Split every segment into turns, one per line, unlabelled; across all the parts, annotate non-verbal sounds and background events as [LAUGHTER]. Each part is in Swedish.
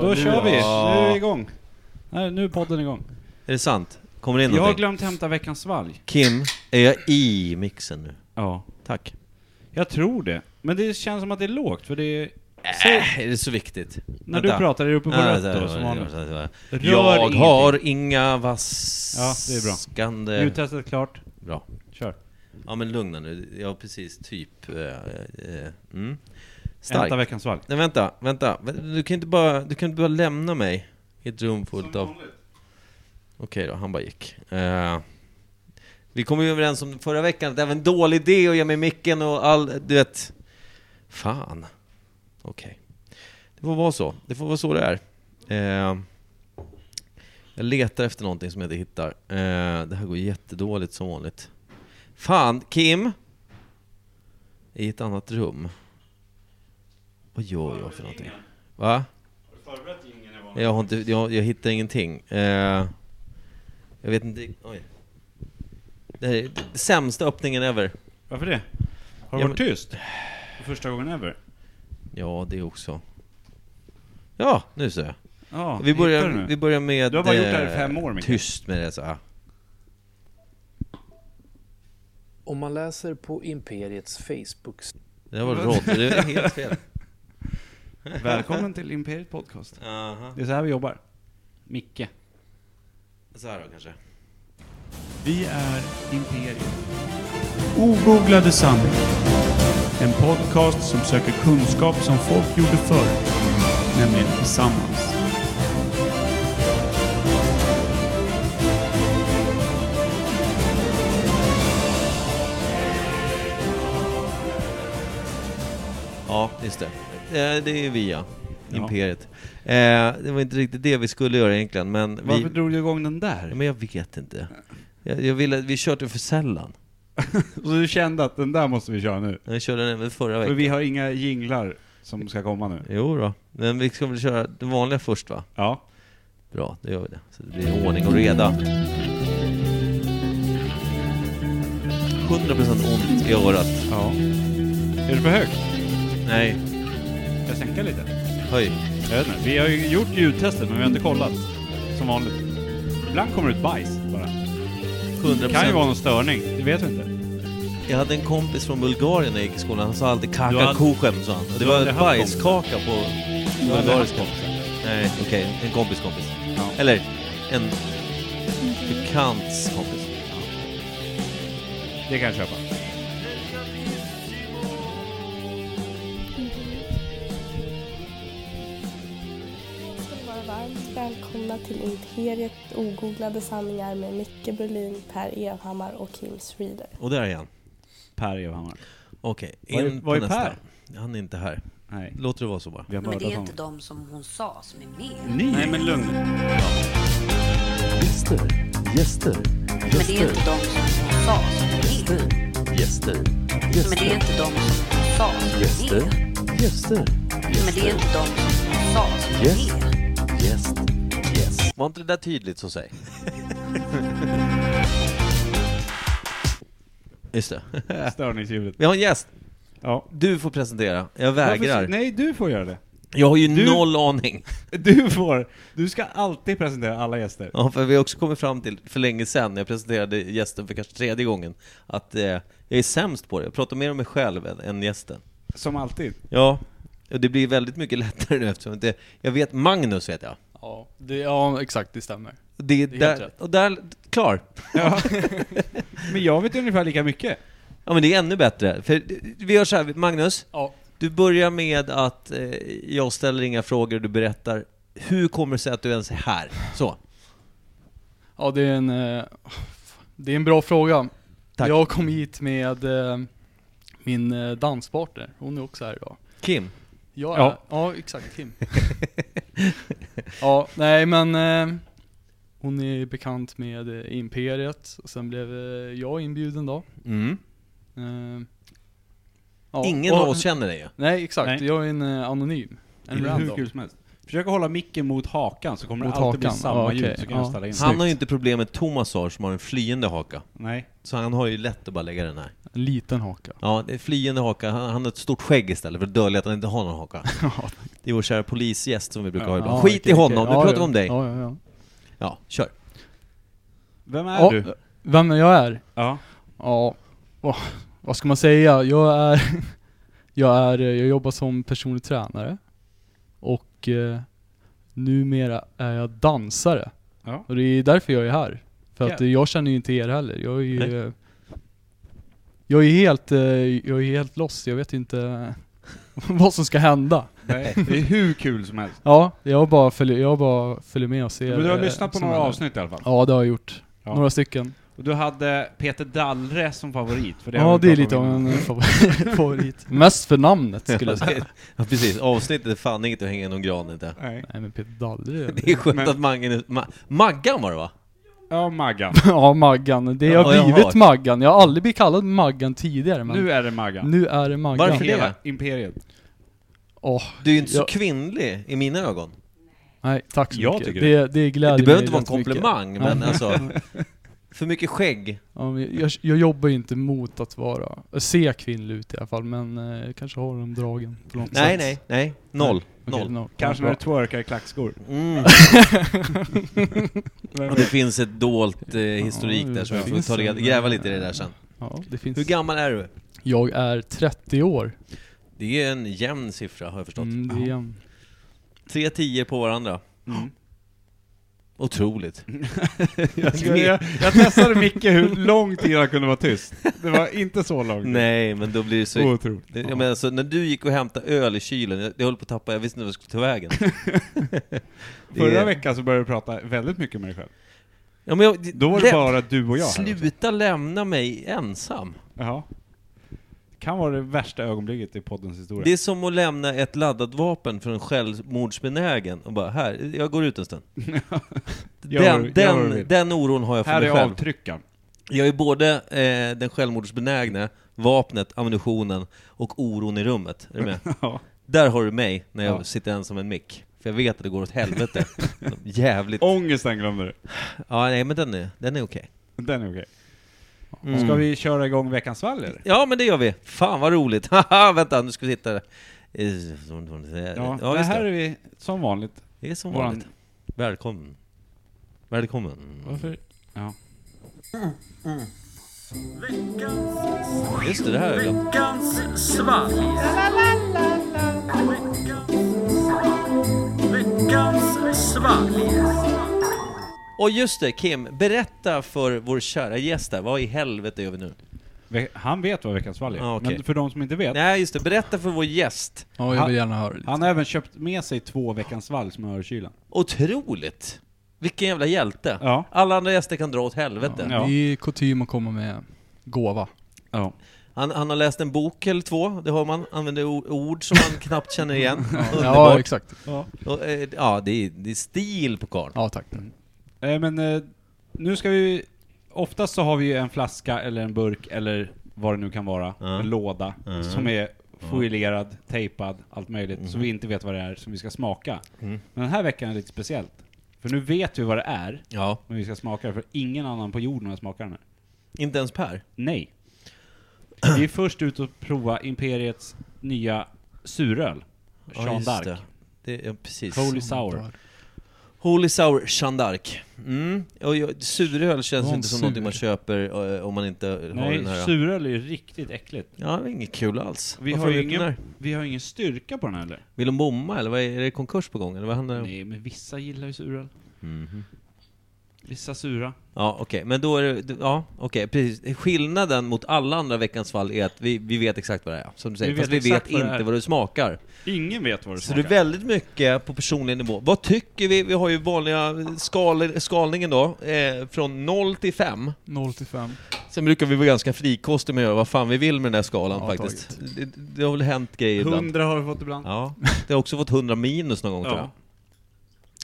Då
nu-
kör vi! Nu är vi
Ja.
igång. Nej, nu är podden igång.
Är det sant? Kommer det in
Jag har
någonting?
glömt hämta veckans svalg.
Kim, är jag i mixen nu?
Ja.
Tack.
Jag tror det. Men det känns som att det är lågt, för det är... Säg,
Äh, är det så viktigt?
när du pratar är det uppe på rött då, som vanligt. Rör
Jag
ingenting.
har inga
Ja, det är bra.
vaskande...
Ljudtestet klart.
Bra.
Kör.
Ja men lugna nu, jag har precis typ... eh, eh, mm.
Hämta
Stark.
veckans svalg.
Nej vänta, vänta. Du kan inte bara, du kan inte bara lämna mig i ett rum fullt av... Okej då, han bara gick. Eh, vi kom ju överens om förra veckan att det var en dålig idé att ge mig micken och all... Du vet... Fan. Okej. Det får vara så. Det får vara så det är. Eh, jag letar efter någonting som jag inte hittar. Eh, det här går jättedåligt som vanligt. Fan, Kim! I ett annat rum. Vad gör jag för någonting? Va? Jag, har inte, jag, jag hittar ingenting. Eh, jag vet inte... Oj. Det här är den sämsta öppningen ever.
Varför det? Har du
Ja,
varit tyst? För första gången ever?
Ja, det också. Ja, nu ser jag.
Ja,
Vi
hittar du nu?
börjar, vi börjar med...
Du har bara gjort det här i
eh,
fem år, Micke.
Tyst med det så här.
Om man läser på Imperiets Facebook
[LAUGHS]
Det där var råd, det är helt fel.
Välkommen till Imperiet Podcast.
Aha.
Det är så här vi jobbar. Micke.
Så här då kanske.
Vi är Imperiet. Ogooglade sanningar. En podcast som söker kunskap som folk gjorde förr. Nämligen tillsammans.
Ja, just det. Eh, Det är via
Ja.
Imperiet. Eh, Det var inte riktigt det vi skulle göra egentligen, men vi...
Varför drog du igång den
[LAUGHS]
där?
Men jag vet inte. Jag, jag ville, vi körde för sällan.
Så du kände att den där måste vi köra nu?
Jag körde den väl förra
För
veckan.
vi har inga jinglar som ska komma nu.
Jo då. men vi ska väl köra det vanliga först va?
Ja.
Bra, då gör vi det. Så det blir ordning och reda. 100% ont i örat.
Ja. Är det för högt?
Nej,
Ska jag sänka lite?
höj.
Jag vet inte. Vi har ju gjort ljudtester men vi har inte kollat. Som vanligt. Ibland kommer det ut bajs bara.
100%.
Det kan ju vara någon störning. Det vet vi inte.
Jag hade en kompis från Bulgarien när jag gick i skolan. Han sa alltid
Du hade-
kaka kokhem, sa han. Och det
Du
var
hade
ett
haft
bajskaka på bulgariska. Nej, okej. En kompis kompis.
Ja.
Eller en bekants kompis.
Det kan jag köpa.
ska ni vara varmt välkomna till Imperiet ogooglade sanningar med Micke Berlin, Per Evhammar och Kim Reader.
Och där är han.
Per Evhammar.
Okej,
Var är-
in
var är
på nästa.
Per?
Han är inte här.
Nej.
Låter det vara så bara.
Vi har
Men
mördat
det är inte
honom.
de som hon sa som är med.
Ni? Nej men lugn.
Gäster, gäster,
Men det är
gäster,
inte de som hon sa som är med.
gäster,
Men det är
gäster,
inte de som hon sa som är
gäster,
med.
gäster,
Men det är inte de som hon sa som är med.
gäst, gäst.
Var inte det där tydligt
[LAUGHS]
så säg. Just det.
[LAUGHS] Störningsljudet.
Vi har en gäst.
Ja.
Du får presentera. Jag
Varför-
vägrar.
Nej, du får göra det.
Jag har ju
Du-
noll aning.
Du får. Du ska alltid presentera alla gäster.
Ja, för vi har också kommit fram till för länge sedan, när jag presenterade gästen för kanske tredje gången, att eh, jag är sämst på det. Jag pratar mer om mig själv än, än gästen.
Som alltid.
Ja, och det blir väldigt mycket lättare nu eftersom det, jag vet Magnus, vet jag.
Ja, det, ja exakt, det stämmer.
Det är
Det är helt
där,
rätt.
och där, klar.
Ja. [LAUGHS] men jag vet ungefär lika mycket.
Ja men det är ännu bättre. För vi gör så här, Magnus.
Ja,
Du börjar med att eh, jag ställer inga frågor och du berättar. Hur kommer det sig att du ens är här? Så.
ja det, är en, eh, det är en bra fråga.
Tack.
Jag kom hit med eh, min eh, danspartner, hon är också här idag.
Kim.
Jag
Ja.
ja. Är, ja, exakt, Kim. [LAUGHS] ja, nej men eh, hon är bekant med eh, Imperiet, och sen blev eh, jag inbjuden då.
Mm.
Eh, ja,
Ingen
och-
av oss känner dig ju.
Nej exakt,
Nej.
jag är en eh, anonym.
Det
En
är hur
random.
kul som helst. Försök att hålla micken mot hakan så kommer
Mot
det alltid bli
hakan.
samma
Ja,
ljud
okej.
så kan jag
Ja.
ställa in.
Han har ju inte problem med Thomas har som har en flyende haka.
Nej.
Så han har ju lätt att bara lägga den här.
En liten haka. [LAUGHS]
Ja, det är flyende haka. Han, han har ett stort skägg istället för att dölja att han inte har någon haka. Det är vår kära polisgäst som vi brukar ha
Ja,
ibland. Skit i
okej,
honom,
okej.
nu
Ja,
pratar vi
ja.
om dig.
Ja, ja, ja.
Ja, kör.
Vem är
Ja,
du?
Vem jag är?
Ja.
Ja, åh, vad ska man säga? Jag är, [LAUGHS] jag är, jag jobbar som personlig tränare och eh, numera är jag dansare.
Ja.
Och det är därför jag är här. För att eh, jag känner ju inte er heller. Jag är
Nej.
ju, eh, jag är helt, eh, jag är helt lost. Jag vet inte [LAUGHS] vad som ska hända.
Nej, det är hur kul som helst.
Ja, jag bara följer, jag bara följer med och ser.
Men du har
eh,
lyssnat på
som
några
är-
avsnitt i alla fall.
Ja, det har jag gjort.
Ja.
Några stycken.
Och du hade Peter Dallre som favorit. För det har
Ja,
vi
det är
pratat
lite
om
av
innan.
en favor- favorit. [LAUGHS] Mest för namnet [LAUGHS] skulle jag säga.
Ja, precis. Avsnittet är fan inget att hänga någon gran
[LAUGHS]
inte.
Nej.
Nej men Peter Dallre.
Det är skönt
Men-
att Mange... Ma- Maggan var det va?
Ja, Maggan.
[LAUGHS] Ja Maggan, det
Ja,
har
jag
blivit
har.
Maggan. Jag har aldrig blivit kallad Maggan tidigare men nu,
Nu är det Maggan.
är det Maggan.
Varför det?
Hela imperiet.
Åh,
Du är ju inte så
Ja.
kvinnlig i mina ögon.
nej tack så
Jag
mycket.
tycker
Det, det, det gläder
det
mig
behöver inte vara en
rätt mycket.
komplimang,
mycket.
men
Nej.
alltså...
[LAUGHS]
För mycket skägg.
Ja, men jag, jag jobbar ju inte mot att vara, att se kvinnlig ut i alla fall men eh, jag kanske har de dragen på något
Nej,
sätt.
nej, nej. Noll.
Okej,
Noll.
noll.
Kanske när du twerkar i klackskor.
Mm.
Vem
Och det finns ett dolt eh, historik där som vi får
finns
ta
det.
reda, gräva lite i det där sen.
Ja, det finns.
Hur gammal är du?
Jag är 30 år.
Det är en jämn siffra har jag förstått.
Mm, det är jämnt.
Tre tior på varandra.
Mm.
[LAUGHS]
Otroligt.
Mm.
Jag, ska, jag, jag testade Micke hur lång tid han kunde vara tyst. Det var inte så långt.
Nej, men då blir det så...
Otroligt.
Det- Jag menar, alltså, när du gick och hämtade öl i kylen, jag, jag höll på att tappa, jag visste inte vad jag skulle
[LAUGHS]
ta vägen. Det är-
Förra veckan så började du prata väldigt mycket med dig själv.
Ja, men jag,
Då var det
lä-
bara du och jag alltså. här också.
Sluta lämna mig ensam.
Jaha. Det kan vara det värsta ögonblicket i poddens historia.
Det är som att lämna ett laddat vapen för en självmordsbenägen och bara här, jag går ut
[LAUGHS]
en stund.
Gör vad du-
den,
gör vad du
den,
vill.
den oron har jag för
här
mig
är
själv.
avtryckaren. [LAUGHS]
Jag är både eh, den självmordsbenägne, vapnet, ammunitionen och oron i rummet. Är du
[LAUGHS]
med?
Ja.
Där har du mig när jag
Ja.
sitter ensam med en mick. För jag vet att det går
[LAUGHS]
åt helvete. Jävligt.
Ångesten glömde du.
Ja, nej men den är, den är okej.
Den är okej.
Mm.
Ska vi köra igång veckans svalg eller?
Ja men det gör vi. Fan vad roligt. [LAUGHS] Haha, vänta nu ska vi sitta där. Eh,
Ja,
Ja,
det
just
här
det.
är vi som vanligt.
Det är som
våran-
vanligt. Välkommen. Välkommen.
Varför? Ja.
Just det, det här är jag. Och just det, Kim. Berätta för vår kära gäst där. Vad i helvete gör vi nu?
Ve- Han vet vad veckans svalg är.
Ja, okej.
Men för de som inte vet.
Nej, just det. Berätta för vår gäst.
Ja, jag vill gärna höra lite.
Han har även köpt med sig två veckans svalg som jag har i kylen.
Otroligt! Vilken jävla hjälte.
Ja.
Alla andra gäster kan dra åt helvete.
Ja.
Det är kutym att komma med gåva.
Ja.
Han, han har läst en bok eller två, det har man. Använder o- ord som man knappt
[LAUGHS]
känner igen.
Ja,
Underbart.
exakt.
Och, eh, ja, det är, det är stil på karln.
Ja, tack. Mm.
Eh, men eh, nu ska vi... Oftast så har vi ju en flaska eller en burk eller vad det nu kan vara,
Ja. Mm.
en låda, som är foilerad, tejpad, allt möjligt, så vi inte vet vad det är som vi ska smaka. Men den här veckan är lite speciellt. För nu vet vi vad det är,
Ja.
men vi ska smaka det, för ingen annan på jorden har smakat den här.
Inte ens Per. [CLEARS THROAT]
Nej. Vi är först ut och prova Imperiets nya suröl,
Ja,
Jean
just
d'Arc.
Det. Det är, precis.
Holy Sour.
Holy Sour Jean d'Arc. Mm. Och jag, suröl känns
Var
inte som
sur?
någonting man köper eh, om man inte har den
Nej,
här...
suröl är ju riktigt äckligt.
Ja, det är inget kul alls.
Vi
Varför
har, ju
gjort den
ingen,
här?
vi har ingen styrka på den här heller.
Vill de bomma eller vad är, är det konkurs på gång? Eller vad händer? Mm-hmm.
Nej, men vissa gillar ju suröl. Vissa sura.
Ja, okej. Men då är det... Ja, okej. Precis. Skillnaden mot alla andra Veckans fall är att vi, vi vet exakt vad det är. Som du säger.
Vi
Fast vi
vet
vet
exakt vad det
inte
är.
vad det smakar.
Ingen vet vad det
Så det är
smakar.
väldigt mycket på personlig nivå. Vad tycker vi? Vi har ju vanliga skal, skalningen då, eh, från 0 till 5.
0 till 5.
Sen brukar vi vara ganska frikostiga med att göra vad fan vi vill med den där skalan
Ja,
faktiskt. Det, det har väl hänt grejer ibland.
har vi fått ibland.
Ja, det har också fått 100 minus någon gång tror jag.
Ja.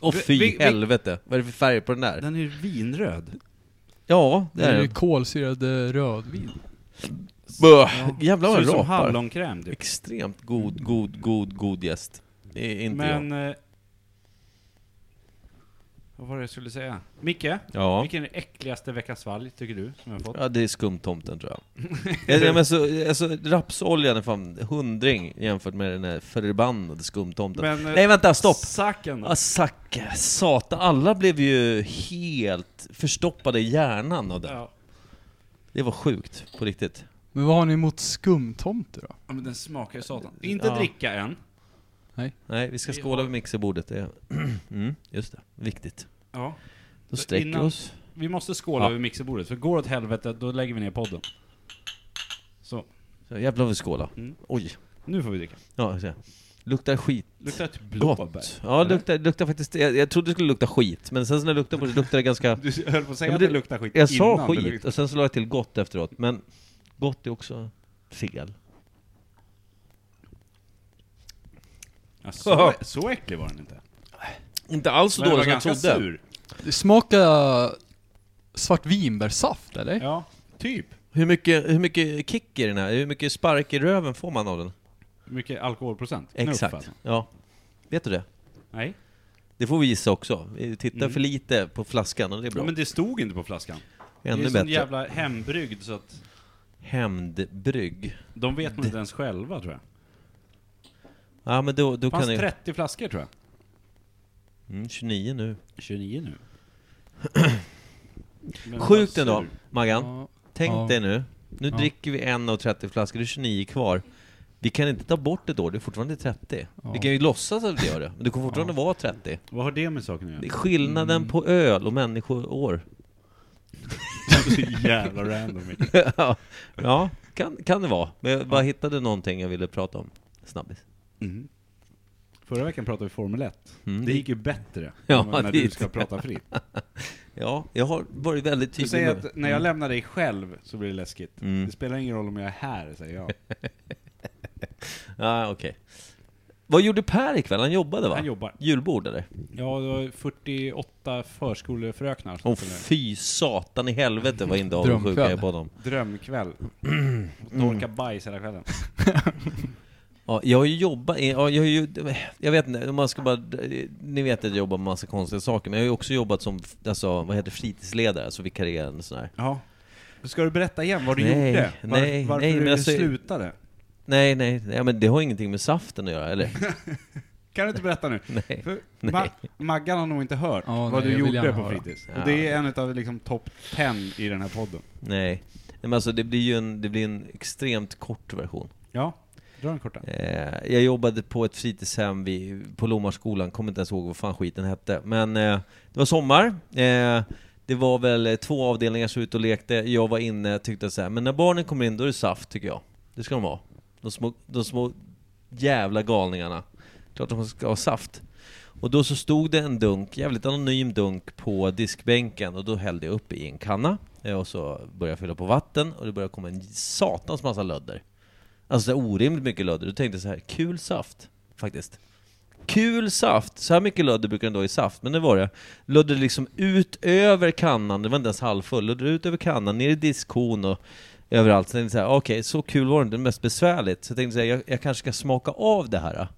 Och
Vi-
fy
vi- vi-
helvete, vad är det för färg på den där?
Den är ju vinröd.
Ja, det
Det är
är
ju
den.
kolsyrad eh, rödvin.
Böh, Jävlar
Ser
vad
ut
det
som
rapar.
hallonkräm typ.
Extremt god, god, god, god gäst. Det är inte
Men...
jag.
eh, Vad var det jag skulle säga? Micke?
Ja.
Vilken är den äckligaste veckans svalg, tycker du, som jag har fått?
Ja, det är skumtomten tror
[LAUGHS]
jag. jag jag- men så, alltså, rapsoljan är fan hundring jämfört med den här förbannade skumtomten.
Men, eh,
Nej vänta, stopp!
Saken då?
Ah, sack, satan, alla blev ju helt förstoppade i hjärnan av det.
Ja.
Det var sjukt, på riktigt.
Men vad har ni emot skumtomte då?
Ja, men den smakar ju satan. Inte
Ja.
dricka än.
Nej, vi ska
Vi
skåla
har-
vid mixerbordet. Det är... [CLEARS THROAT] mm, just det, viktigt.
Ja.
Då
Så
sträcker
innan-
vi oss.
Vi måste skåla
Ja.
över mixerbordet, för går det åt helvete, då lägger vi ner podden. Så,
Så, jävlar vad vi skåla.
Mm.
Oj.
nu får vi dricka.
Ja, så. Luktar skit.
Luktar typ blåbär.
Gott. Ja,
Eller?
luktar, luktar faktiskt... Jag, jag trodde det skulle lukta skit, men sen så när jag luktade på det luktade
[LAUGHS]
det ganska...
Du höll på att säga
Ja, men
att det
det-
luktar skit
Jag sa
innan det
skit,
luktar-
och sen så la jag till gott efteråt, men gott är också fel.
Ja, så, så äcklig var den inte.
Inte alls så
Men den var
dåligt som jag
ganska
trodde.
sur.
Det smakar svartvinbärssaft eller?
Ja, typ.
Hur mycket, hur mycket kick i den här? Hur mycket spark i röven får man av den?
Mycket alkoholprocent. Knuff,
Exakt.
alltså.
Ja. Vet du det?
Nej.
Det får vi gissa också. Vi tittar för lite på flaskan och det är bra.
Mm. Ja, men det stod inte på flaskan. det
Ännu
är
bättre.
sån jävla hembryggd så att
Hämndbrygg.
de vet nog inte ens själva tror jag.
Ja men då, då
Det fanns
kan jag...
30 flaskor tror jag.
Mm, 29 nu.
29
[CLEARS THROAT]
nu. Men
Sjukt
vad
ändå,
sur.
Maggan.
Ja.
Tänk
Ja.
dig nu. Nu dricker vi en av 30 flaskor, det är 29 kvar. Vi kan inte ta bort det då, det är fortfarande 30. Vi kan ju låtsas att vi gör det, men det kommer fortfarande vara 30.
Vad har det med saken att
Det är
göra?
skillnaden på öl
[LAUGHS]
och människoår.
Det är jävla random.
[LAUGHS] Ja. ja, kan, kan det vara. Men jag bara hittade någonting jag ville prata om. Snabbis.
Mm. Förra veckan pratade vi Formel 1.
Mm.
Det gick ju bättre
Ja,
än när
det-
du ska prata fritt.
Ja, jag har varit väldigt
Du
tydlig
säger
med
att när jag lämnar dig själv så blir det läskigt.
Mm.
Det spelar ingen roll om jag är här, säger
[LAUGHS]
jag.
Ja, okej. Vad gjorde Per ikväll? Han jobbade va?
Han jobbar.
Julbord eller?
Ja, det var 48 förskolefröknar. som
Åh
skulle-
fy satan i helvete vad inte avundsjuk jag är på honom. [CLEARS THROAT]
Drömkväll. Torka
Mm.
bajs hela kvällen.
Ja, jag har ju jobbat, ja, jag, har ju, jag vet inte, om man ska bara, ni vet att jag jobbar med massa konstiga saker, men jag har ju också jobbat som, alltså, vad heter det, fritidsledare, alltså vikarierande sån här.
Ja. Ska du berätta igen vad du
Nej,
gjorde? Var,
nej,
varför
nej, men
du
alltså-
slutade?
Nej, nej, nej, men det har ingenting med saften att göra, eller?
Kan du inte berätta nu?
[LAUGHS] Nej.
För Ma- Maggan har nog inte hört
Ja,
vad
nej,
du
jag vill
gjorde
gärna
på
höra.
fritids.
Ja.
Och det är en av liksom topp 10 i den här podden.
Nej. Nej, men alltså det blir ju en, det blir en extremt kort version.
Ja, dra den korta.
Eh, jag jobbade på ett fritidshem vid, på Lomarskolan, kommer inte ens ihåg vad fan skiten hette. Men eh, det var sommar. Eh, det var väl eh, två avdelningar som var ute och lekte. Jag var inne tyckte så här, men när barnen kommer in då är det saft tycker jag. Det ska de ha. De små, de små jävla galningarna. Klart de ska ha saft. Och då så stod det en dunk, jävligt anonym dunk på diskbänken och då hällde jag upp i en kanna eh, och så började jag fylla på vatten och det började komma en satans massa lödder. Alltså så här orimligt mycket lödder. Då tänkte jag så här, kul saft faktiskt. Kul saft! Så här mycket lödder brukar det ändå i saft, men det var det. Lödder liksom ut över kannan, det var inte ens halvfull, lödder ut över kannan, ner i diskhon och överallt. Så tänkte jag så här, okej, så kul var det inte, men mest besvärligt. Så jag tänkte så här, jag, jag kanske ska smaka av det här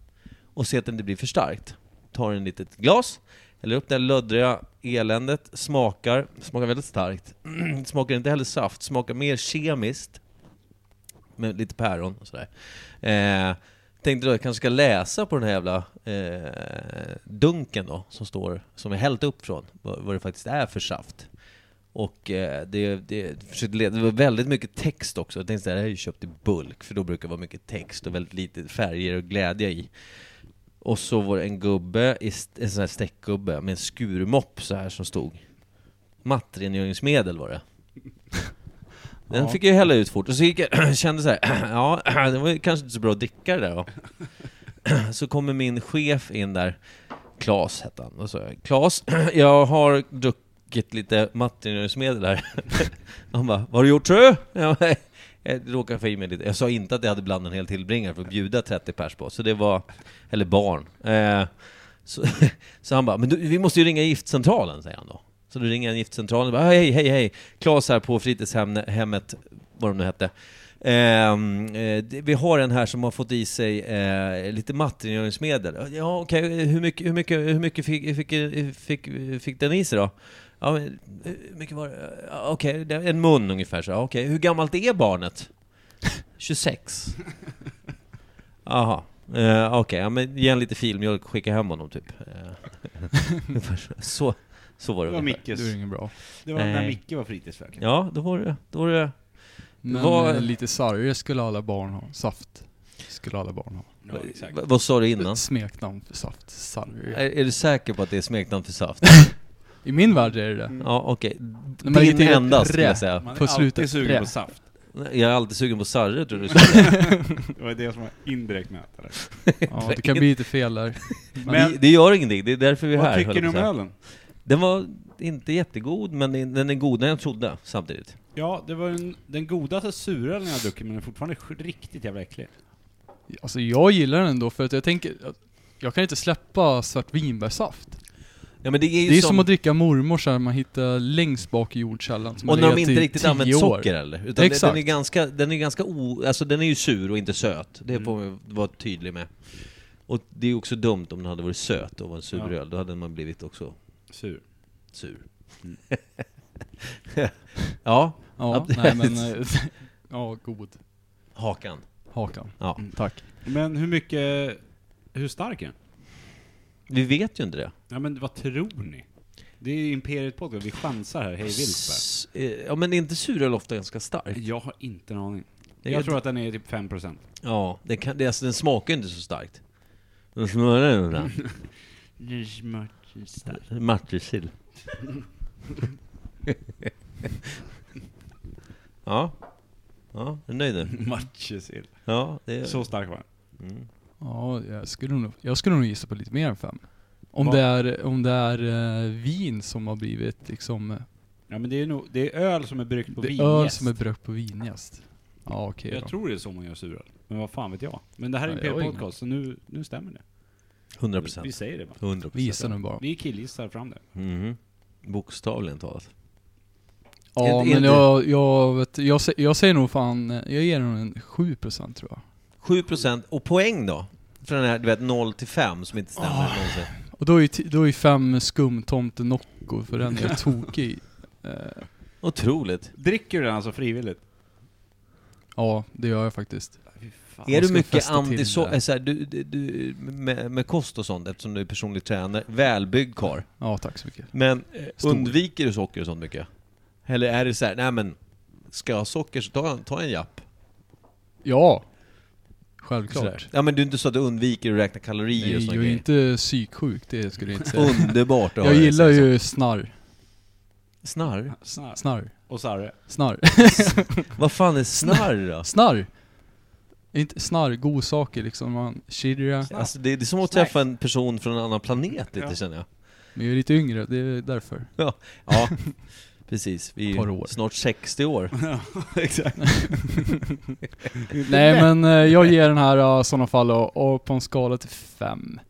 och se att det inte blir för starkt. Tar en litet glas, häller upp det här löddriga eländet, smakar, smakar väldigt starkt. [CLEARS THROAT] smakar inte heller saft, smakar mer kemiskt med lite päron och sådär. Eh, tänkte då att jag kanske ska läsa på den här jävla eh, dunken då, som står, som är hällt upp från, vad, vad det faktiskt är för saft. Och eh, det, det, försökte leda- det var väldigt mycket text också. Jag tänkte såhär, det här är ju köpt i bulk, för då brukar det vara mycket text och väldigt lite färger och glädje i. Och så var det en gubbe, i st- en sån här streckgubbe med en skurmopp så här som stod. Mattrengöringsmedel var det. Den fick jag hälla ut fort, och så gick jag, [CLEARS THROAT] kände så här, ja, [CLEARS THROAT] det var ju kanske inte så bra att dricka det där då. [CLEARS THROAT] Så kommer min chef in där, Klas hette han, och så Klas, [CLEARS THROAT] jag har druckit lite mattrengöringsmedel här. [LAUGHS] Han bara, vad har du gjort tror du? Jag bara, Jag råkade få i mig lite, jag sa inte att jag hade blandat en hel tillbringare för att bjuda 30 pers på, så det var, eller barn. Eh, så, [LAUGHS] så han bara, men du, vi måste ju ringa giftcentralen, säger han då. Så då ringer han giftcentralen och bara, hej, hej, hej, Klas här på fritidshemmet, vad de nu hette. Ehm, eh, det- vi har en här som har fått i sig eh, lite mattrengöringsmedel. Ja, okej, hur mycket, hur mycket, hur mycket fick, fick, fick, fick den i sig då? Ja, men, hur mycket var det? Ja, Okej, det är en mun ungefär. så. Ja, Okej, hur gammalt är barnet? 26. Jaha. Eh, Okej, ja, men ge en lite filmjölk och skicka hem honom typ. Eh, [LAUGHS] ungefär så. så, så var det
Det var
ungefär.
Mickes.
Du är ingen bra.
Det var när
Nej.
Micke var fritidsfröken.
Ja, då var det, då var det
Men
Vad-
eh, lite sarger skulle alla barn ha. Saft skulle alla barn ha.
Ja, exakt.
Vad- Vad sa du innan?
Smeknamn för saft. Sarger.
Är, är du säker på att det är smeknamn för saft?
Mm.
I min värld är det det.
Ja, okej.
När man lägger
Din
till ett
enda skulle
rä.
jag säga.
Man är
På
alltid
slutet.
sugen
Trä.
på saft.
Jag är alltid sugen på sarre, tror du sa.
[LAUGHS] Det var det som var indirekt med det.
Ja, det kan bli lite fel där.
Men
Men-
det, det gör ingenting, det är därför vi är
Vad
här. höll
tycker
jag
ni om
på att säga.
ölen?
Den var inte jättegod, men den- den är godare än jag trodde samtidigt.
Ja, det var den, den godaste surölen jag har druckit, men den är fortfarande sj- riktigt jävla äcklig.
Alltså jag gillar den ändå för att jag tänker, att jag kan inte släppa svartvinbärssaft.
Ja, men det är ju
Det är
som,
som att dricka mormor så här, man hittar längst bak i jordkällan. som har
och när de
legat
inte
i
riktigt
10
använt
år.
socker eller? Utan Exakt.
Exakt.
den är ganska, den är ganska o, alltså den är ju sur och inte söt.
Mm.
Det får man vara tydlig med. Och det är ju också dumt om den hade varit söt och var en sur
Ja.
öl, då hade man blivit också
Sur.
sur. Mm. [LAUGHS] ja,
Ja,
[LAUGHS]
nej men... eh, [LAUGHS] ja, god.
hakan.
Hakan.
Ja.
Tack.
Men hur mycket, hur stark är den?
Vi vet ju inte det.
Ja men vad tror ni? Det är ju Imperiet Podcast, vi chansar här hej vilt bara.
S- eh, Ja men är inte suröl ofta ganska stark?
Jag har inte en aning.
Jag
Jag
vet-
tror att den är typ 5%.
Ja, den, kan, det, alltså, den smakar ju inte så starkt. Den smörar ju den. [LAUGHS] Matjessill. ja. Ja, är du nöjd nu?
Matjessill.
Ja, det är...
Så stark var den.
Ja, jag skulle, nog, jag skulle nog gissa på lite mer än fem. Om
Ja.
det är, om det är eh, vin som har blivit liksom... eh,
Ja men det är nog, det är öl som är bryggt på
det är
vinjäst.
öl som är bryggt på vinjäst. Ja, okej
Jag
då.
tror det är så man gör suröl. Men vad fan vet jag? Men det här är
Ja, jag har
Imperiet
ingen-
Podcast, så nu, nu stämmer det.
100
Vi
procent.
säger det bara.
100
Vi gissar nu bara.
Vi killgissar fram det.
Mhm. Bokstavligen talat.
Ja,
Är det- är
men
det-
jag, jag, vet, jag, sä- jag säger nog fan, eh, jag ger nog en 7% tror jag.
7 procent. Och poäng då? För den här, du vet, 0 till 5 som inte stämmer
Ah.
någonsin.
Och då är ju, ti- då är ju fem skumtomte Nocco, för den är jag tokig i. Eh,
Otroligt.
Dricker du den alltså frivilligt?
Ja, det gör jag faktiskt. man
är du
ska
mycket
fästa till
anti-så...
det.
äh, så här, du, du, du, med, med kost och sånt, eftersom du är personlig tränare, välbyggd karl.
Ja, tack så mycket.
Men eh,
Stor.
undviker du socker och sånt mycket? Eller är det så här, nej men, ska jag ha socker så ta, ta en japp?
Ja!
Sådär.
Självklart.
Ja men det är inte så att du undviker att räkna kalorier
Nej,
och
jag
såna
är
grejer.
ju inte psyksjuk, det skulle jag inte säga.
Underbart Alltså. att
Jag
höra,
gillar
säger
ju snarr.
så.
[LAUGHS]
Snarr?
Snarr.
Snarr.
Och
[LAUGHS]
sarre.
Snarr.
Vad fan är snarr då?
Snarr! Inte snarr, god saker liksom. Man chirra.
Alltså det, det är som att
Snacks.
träffa en person från en annan planet lite
Ja.
känner jag.
Men jag är lite yngre, det är därför.
Ja, ja precis. Vi är
Par
ju
år.
snart 60 år.
Exakt.
Nej men eh, jag ger den här eh, i sådana fall och, och på en skala till fem.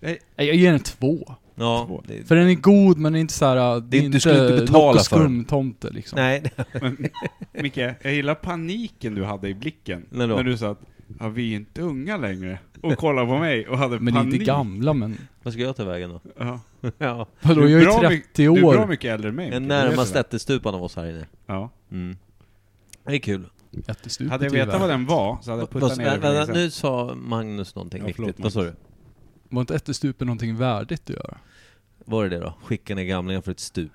Nej.
Nej, jag ger den två.
Ja, det,
För den är god men den är inte såhär, äh, det
Det-
är
du
inte,
skulle inte betala
Nocco
för den.
skumtomte liksom.
nej,
Men, Micke, jag gillar paniken du hade i blicken.
När då?
När du sa att ja, vi är inte unga längre. Och kollade på mig och hade
Men
panik.
inte gamla men.
vad ska jag ta vägen då?
[LAUGHS] Ja.
Ja,
Vadå,
Du
jag
bra
är
my-
30
Du är bra
år.
mycket äldre än mig.
en
Micke, det vet
närmast
jag.
ättestupan av oss här inne.
Ja.
Mm. Det är kul.
Jättestupigt
Hade jag
i
vetat
världen.
vad den var så hade jag
Vad-
puttat ner
vänta,
den för
nu sa Magnus någonting
Ja,
viktigt.
förlåt,
Vad sa du?
Var inte ättestupen någonting värdigt att göra?
Var det det då? Skicka ner gamlingen för ett stup.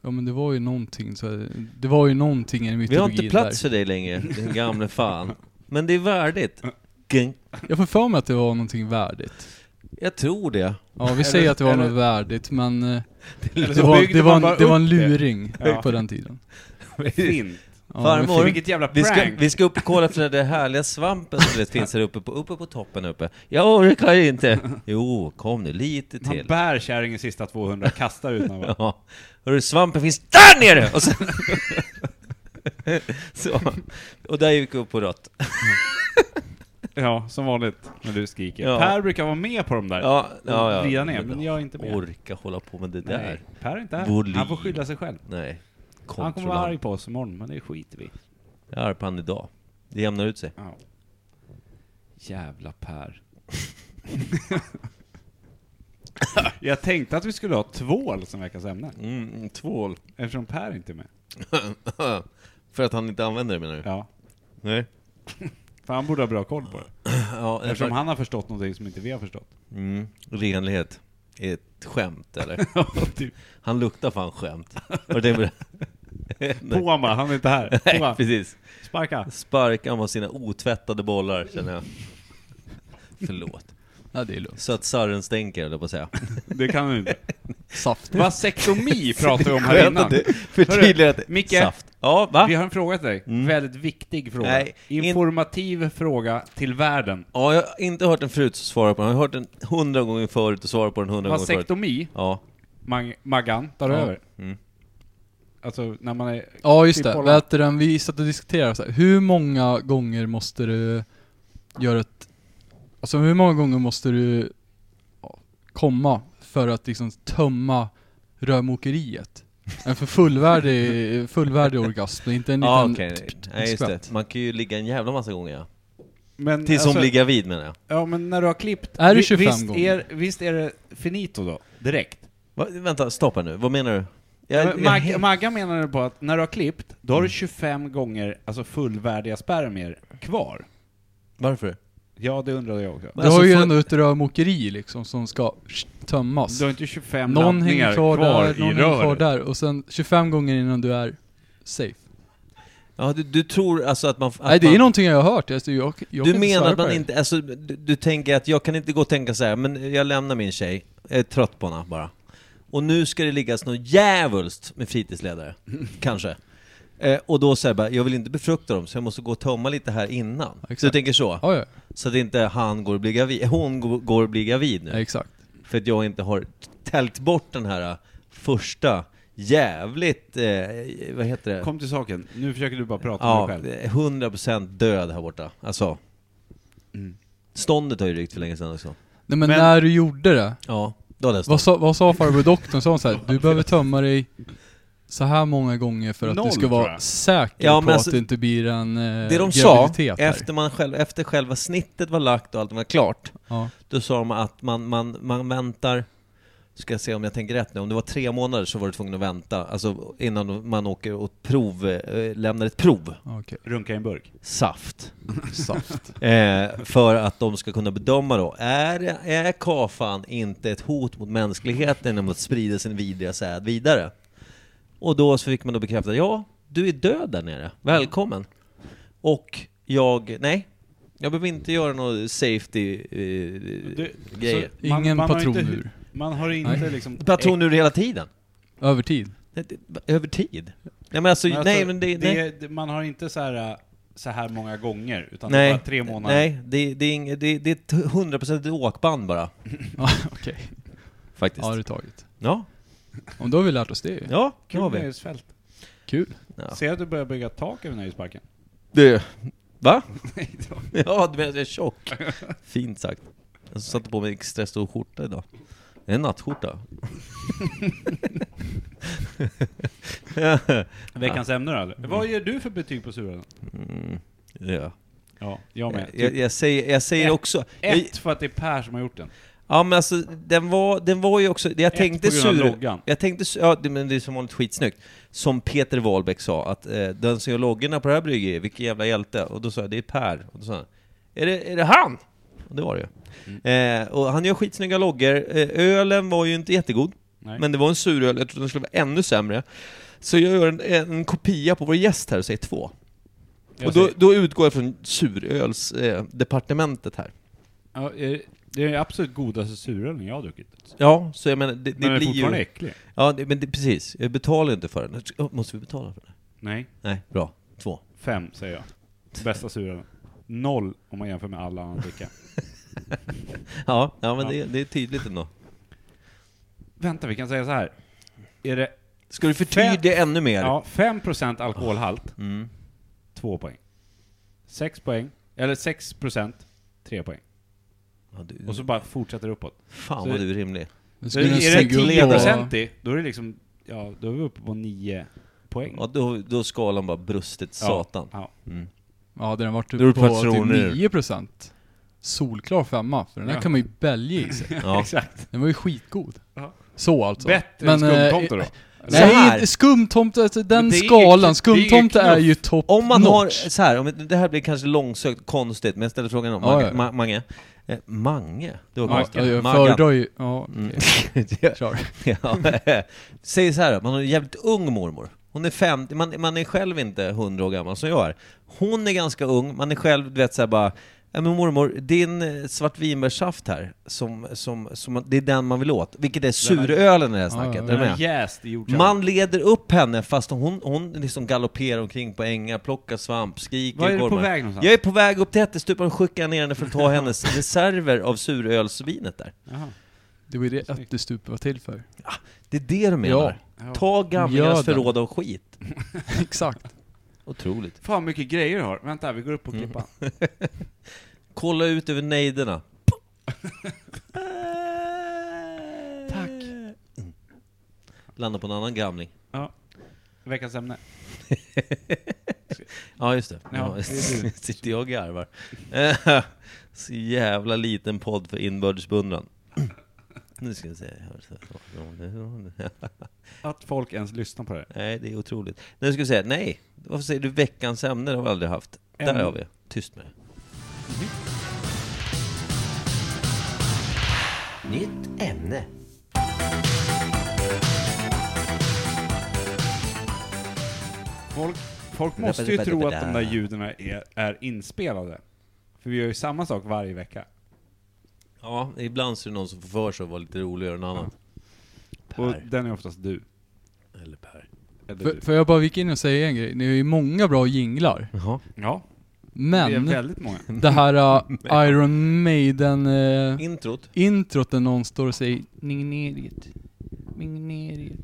Ja men det var ju någonting så här, Det var ju någonting i
Vi har
mytologin
inte plats
där.
för dig längre, din gamle fan. Men det är värdigt. Gung.
Jag får för mig att det var någonting värdigt.
Jag
[LAUGHS]
tror det.
Ja vi
Eller-
säger att det var
eller-
något värdigt men eh,
Eller
det
så
var,
byggde
det var,
man bara
en, det var en
upp det.
luring
Ja.
på den tiden.
Fint.
Ja,
Farmor.
men fint.
Vilket jävla
Vi ska,
prank.
vi ska upp och kolla efter den där härliga svampen som det finns här uppe på, uppe på toppen uppe. Jag
[LAUGHS]
orkar inte. Jo, kom nu lite
Han
till.
bär kärringen sista 200 kastar ut den. va?
[LAUGHS] Ja. Hörru, svampen finns där nere! Och, sen... Så. och där gick vi upp på rött.
Ja, som vanligt när du skriker.
Ja.
Per brukar vara med på de där.
Ja, ja, ja.
Vrida ner, men jag är inte med.
Orka hålla på med det där.
Nej, Per är inte här.
Volym.
Han får skylla sig själv.
Nej.
Han kommer vara
Kontrollant.
arg på oss imorgon, men det skiter vi i.
Jag är arg på han idag. Det jämnar ut sig.
Ja. Jävla [LAUGHS] Per. jag tänkte att vi skulle ha tvål som veckans ämne,
Mm, tvål.
eftersom Per inte är med.
För att han inte använder det menar du?
Ja.
Nej.
För han borde ha bra koll på det.
Ja, en
Eftersom
slags-
han har förstått någonting som inte vi har
[LAUGHS]
förstått.
mm, renlighet. Är ett skämt eller?
typ.
Han luktar fan skämt. Var det [LAUGHS] det Nej,
Poma, han är inte här.
Nej,
Poma,
precis.
sparka.
Sparkar med sina otvättade bollar känner jag. Förlåt.
Ja det är lugnt.
Så att sarren stänker höll jag på att säga.
Det kan han inte.
Saft.
Vasektomi pratade vi om här innan.
Förtydliga att det
Micke.
saft. Ja, va?
Vi har en fråga till dig. Väldigt viktig fråga.
Mm. Nej, in-
Informativ fråga till världen.
Ja, jag har inte hört den förut så svarar jag på den. Jag har hört den hundra gånger förut och svarat på den hundra gånger förut.
Vasektomi,
Ja.
Mag- Maggan, tar du
Ja.
över?
Mm.
Alltså, när man är...
Ja just
Typ
det,
hålla-
vet du, den, vi satt och diskuterade så här, hur många gånger måste du göra ett... Alltså hur många gånger måste du ja, komma för att liksom tömma rörmokeriet? En för
[LAUGHS]
fullvärdig, fullvärdig orgasm, inte en
Ja,
liten...
okej. Nej, just
skvätt.
det. Man kan ju ligga en jävla massa gånger
Mm,
ja.
Men,
Tills hon
alltså,
blir gravid menar jag.
Ja, men när du har klippt...
Är det
vi-
25
visst
gånger?
Är, visst är det finito då? Direkt?
Va, vänta, stoppa nu. Vad menar du? Jag,
Men Mag- Maggan menade på att när du har klippt, då har
Mm.
du 25 gånger alltså fullvärdiga spermier kvar.
varför?
Ja, det undrade jag också.
Du
Alltså,
har ju
för-
ändå ett rörmokeri liksom som ska tömmas.
Du har inte 25
Alltså, Någon
laddningar
hänger kvar, där,
i
någon hänger kvar
röret.
där och sen 25 gånger innan du är safe.
Ja, du, du tror alltså att man... Att
Nej det
man,
är någonting jag har hört, alltså, jag, jag
Du
kan svara
menar att
på
man
det.
inte... Alltså, du, du tänker att jag kan inte gå och tänka så här, men jag lämnar min tjej. Jag är trött på henne bara. Och nu ska det liggas något djävulskt med
[LAUGHS]
fritidsledare. Kanske. Eh, och då säger jag bara, jag vill inte befrukta dem, så jag måste gå och tömma lite här innan.
Exakt.
Så du tänker så?
Ja, ja.
Så att inte han går och blir gravid, hon går- går och blir gravid nu.
ja, exakt.
För att jag inte har täljt bort den här äh, första jävligt, eh, vad heter det?
Kom till saken, nu försöker du bara prata
ja,
med dig själv.
100% död här borta. Alltså.
Mm.
Ståndet har ju ryckt för länge sedan också.
Nej men,
Men-
när du gjorde det,
Ja, då hade jag stånd.
vad sa, vad sa farbror doktorn? Sa hon så här, du behöver tömma dig så här många gånger för att
Noll,
du ska
tror
vara
jag.
säker
Ja,
på
men alltså,
att det inte blir en eh,
Det de sa,
graviditet här.
efter, man själv, efter själva snittet var lagt och allt var klart,
Ja.
då sa de att man, man, man väntar, ska se om jag tänker rätt nu, om det var tre månader så var du tvungen att vänta, alltså innan man åker och prov, eh, lämnar ett prov,
Okej,
Runka i en burk.
Eh,
saft.
saft.
[LAUGHS] Eh, för att de ska kunna bedöma då, är, är kafan inte ett hot mot mänskligheten genom att sprida sin vidriga säd vidare? Och då så fick man då bekräfta, ja, du är död där nere, välkommen. Och jag, nej, jag behöver inte göra någon safety eh,
Du,
grejer.
så
Ingen
har inte-
patronur.
Man har inte
Nej.
liksom...
Patron ur hela tiden.
Övertid.
Nej, det- Över tid. Nej men alltså,
Men alltså,
nej men det, nej.
det- det- Man har inte så här, äh, så här många gånger, utan det är
Nej,
bara tre månader.
nej det, det, är inget- det, det är ett hundraprocentigt åkband bara,
[LAUGHS] Ja, okej.
faktiskt.
Ja, det är taget.
Ja,
Om då har vi lärt oss det ju.
ja, det
Kul
har
med
vi.
husfält.
Kul.
Ja.
Ser jag att du börjar bygga tak över nöjesparken?
Det... Va?
Nej, det var-
[LAUGHS] Ja, du menar att jag är tjock? [LAUGHS] Fint sagt. Jag satte på mig en extra stor skjorta idag. Det är en nattskjorta. [LAUGHS]
Veckans ämne då, eller? Vad ger du för betyg på suran?
Mm, ja.
Ja, jag med.
jag, jag säger, jag säger
Ett.
också... Jag,
Ett för att det är Per som har gjort den.
ja men alltså, den var, den var ju också... Jag
Ett
tänkte
på grund av
sur...
loggan.
Jag tänkte, su- ja det, men det är som vanligt skitsnyggt. Som Peter Wahlbeck sa, att eh, den som gör loggorna på det här bryggeriet, vilken jävla hjälte. Och då sa jag, det är Per. Och då sa han, är det, är det han? Och det var det ju.
Mm.
Eh, och han gör skitsnygga loggor. Eh, ölen var ju inte jättegod,
Nej.
men det var en suröl. Jag trodde den skulle vara ännu sämre. Så jag gör en, en kopia på vår gäst här och säger två.
Jag
Och då,
säger-
då utgår jag från surölsdepartementet eh, departementet här.
ja, eh, det är den absolut godaste surölen jag har druckit.
Ja, så jag menar, det, det
Men den är
blir
fortfarande
ju...
äcklig.
Ja, det, men det, precis. Jag betalar ju inte för den. Oh, Måste vi betala för den?
Nej,
Nej, bra. Två.
fem säger jag. Bästa surölen. Noll om man jämför med alla andra dricka.
Ja, ja men
Ja.
Det, det är tydligt ändå.
Vänta, vi kan säga så här. Är det
Ska du förtydliga ännu mer?
ja, 5% alkoholhalt,
Mm.
2 poäng. 6 poäng, eller 6%, 3 poäng.
Ja, du,
Och så bara fortsätter det uppåt.
fan
så-
vad du är rimlig.
Så
Nu ska den
är det
snegla på-
10% i, då är det liksom, ja, då är vi uppe på 9 poäng.
Ja, då, då har skalan bara brustit satan.
Ja.
Mm.
Ja, hade den varit
Det beror
typ på
på personer.
89% Solklar femma, för den här
Ja.
kan man ju bälja
[LAUGHS]
i sig.
Ja.
Exakt.
Den var ju skitgod.
Ja.
Så alltså.
Bättre än
Men, eh,
skumtomte då?
Så här.
Nej, skumtomte, alltså den
det är ju- det är ju
skalan. Skumtomte är ju topp
Om man
notch.
har, så här, om, det här blir kanske långsökt konstigt, men jag ställer frågan om
Ja,
Mange.
ja.
Ma- Mange. Eh, Mange? Det var
Mange.
konstigt.
Ja, jag
Maggan.
föredrar ju... Ja,
Mm.
okej.
Ja,
Kör.
[LAUGHS] ja. [LAUGHS] Säg så här, man har en jävligt ung mormor. Hon är 50, man, man är själv inte 100 år gammal som jag är. Hon är ganska ung, man är själv, du vet så här bara, "Ja, men mormor, din eh, svartvinbärssaft här, som, som, som, det är den man vill åt. Vilket är surölen i det här snacket,
ja,
är du
Den har
med?
jäst i jordkärnan.
Man leder upp henne fast hon, hon liksom galopperar omkring på ängar, plockar svamp, skriker
Vad är du på
gormar.
väg någonstans?
Jag är på väg upp till ättestupan och skickar ner henne för
[LAUGHS]
att ta hennes reserver av surölsvinet där.
Jaha.
Det var ju det ättestupen var till för.
Det är det du menar?
Ja.
Ta gamlingarnas
Gör den.
förråd av skit.
Exakt.
Otroligt.
Fan mycket grejer du har. Vänta, vi går upp och klippa.
Kolla ut
[LAUGHS]
över nejderna. Tack. Landa Mm. på en annan gamling.
Ja. Veckans ämne.
Ja, just det.
Ja,
[LAUGHS] Ja,
det är du.
sitter jag och garvar. Eh, Så jävla liten podd för inbördesbundran. [CLEARS THROAT] Nu ska vi se.
Att folk ens lyssnar på det.
Nej, det är otroligt. Nu ska vi se. Nej, varför säger du veckans ämne? Det har vi aldrig haft. Där
Ämne.
har vi. Tyst med det.
Mhm.
Nytt ämne.
Folk, folk måste ju tro att de där ljuden är, är inspelade. För vi gör ju samma sak varje vecka.
Ja, ibland så är det någon som får för sig att vara lite roligare än annan.
Och
Per.
den är oftast du.
Eller Per.
Eller
Får-
du.
Får jag bara vika in och säga en grej? Ni har ju många bra jinglar.
Jaha.
Ja, det är
Men
väldigt många. [LAUGHS]
det här äh, Iron Maiden eh,
Introt.
introt där någon står och säger Migneriet. Migneriet.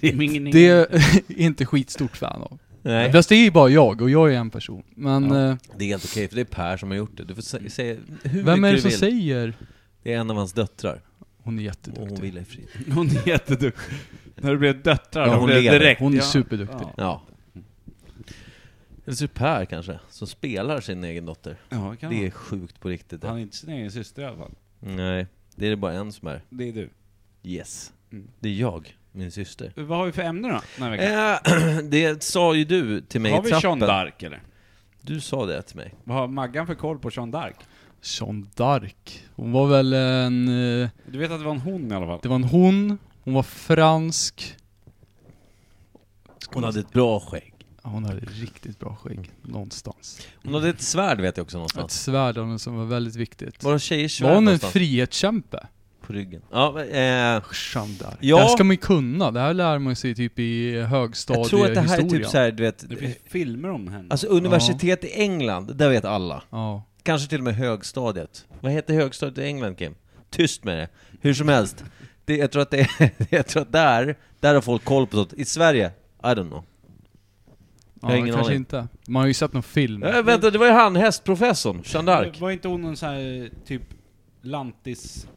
Mignerit.
Det är [LAUGHS] inte skitstort fan av.
Nej.
Fast det är ju bara jag och jag är en person. Men eh,
Det är helt okej, för det är Per som har gjort det. Du får sä- säga hur
Mm. vem
mycket
är
du
det som
vill.
säger?
Det är en av hans döttrar.
Hon är Mm.
Och hon
jätteduktig.
vill i frid.
Hon är jätteduktig. När det blev döttrar,
Ja,
då
hon
blev det
lever.
direkt.
Hon är
Ja.
superduktig.
Ja,
Ja. Eller så är det Per kanske, som spelar sin egen dotter.
ja det kan
Det är
det
sjukt på riktigt.
Han
Det.
är inte sin egen syster i alla fall.
Nej, det är det bara en som är.
Det är du.
Yes.
Mm.
Det är jag, min syster.
Vad har vi för ämne då, den här veckan?
Eh, [CLEARS THROAT] det sa ju du till mig
har
i
vi Sean
trappen.
Dark eller?
Du sa det till mig.
Vad har Maggan för koll på Sean Dark?
Jeanne d'Arc. Hon var väl en... eh,
Du vet att det var en hon i alla fall?
Det var en hon, hon var fransk.
Hon hade ett bra skägg.
Ja, Hon hade riktigt bra
Mm.
skägg. Någonstans.
Hon hade ett svärd vet jag också
Ett
någonstans.
svärd av henne som var väldigt viktigt.
Var det tjejers svärd
Var hon en
någonstans?
frihetskämpe?
På ryggen. Ja, men, eh,
Jeanne d'Arc.
Ja.
Det här ska man ju kunna. Det här lär man sig typ i
jag tror att det här är typ
högstadiehistorien.
såhär, du vet,
Det finns filmer om henne.
Alltså universitet i England, där vet alla.
Ja.
Kanske till och med högstadiet. Vad heter högstadiet i England, Kim? Tyst med det. Hur som helst. Det, jag tror att det [LAUGHS] är, jag tror att där, där har folk koll på sånt. I Sverige, I don't know. Jag
Ja,
har
det
ingen
kanske
aning.
inte. Man har ju sett någon film.
Äh, vänta, det var ju han, hästprofessorn, Jeanne d'Arc.
Var inte hon någon sån här typ lantisflicka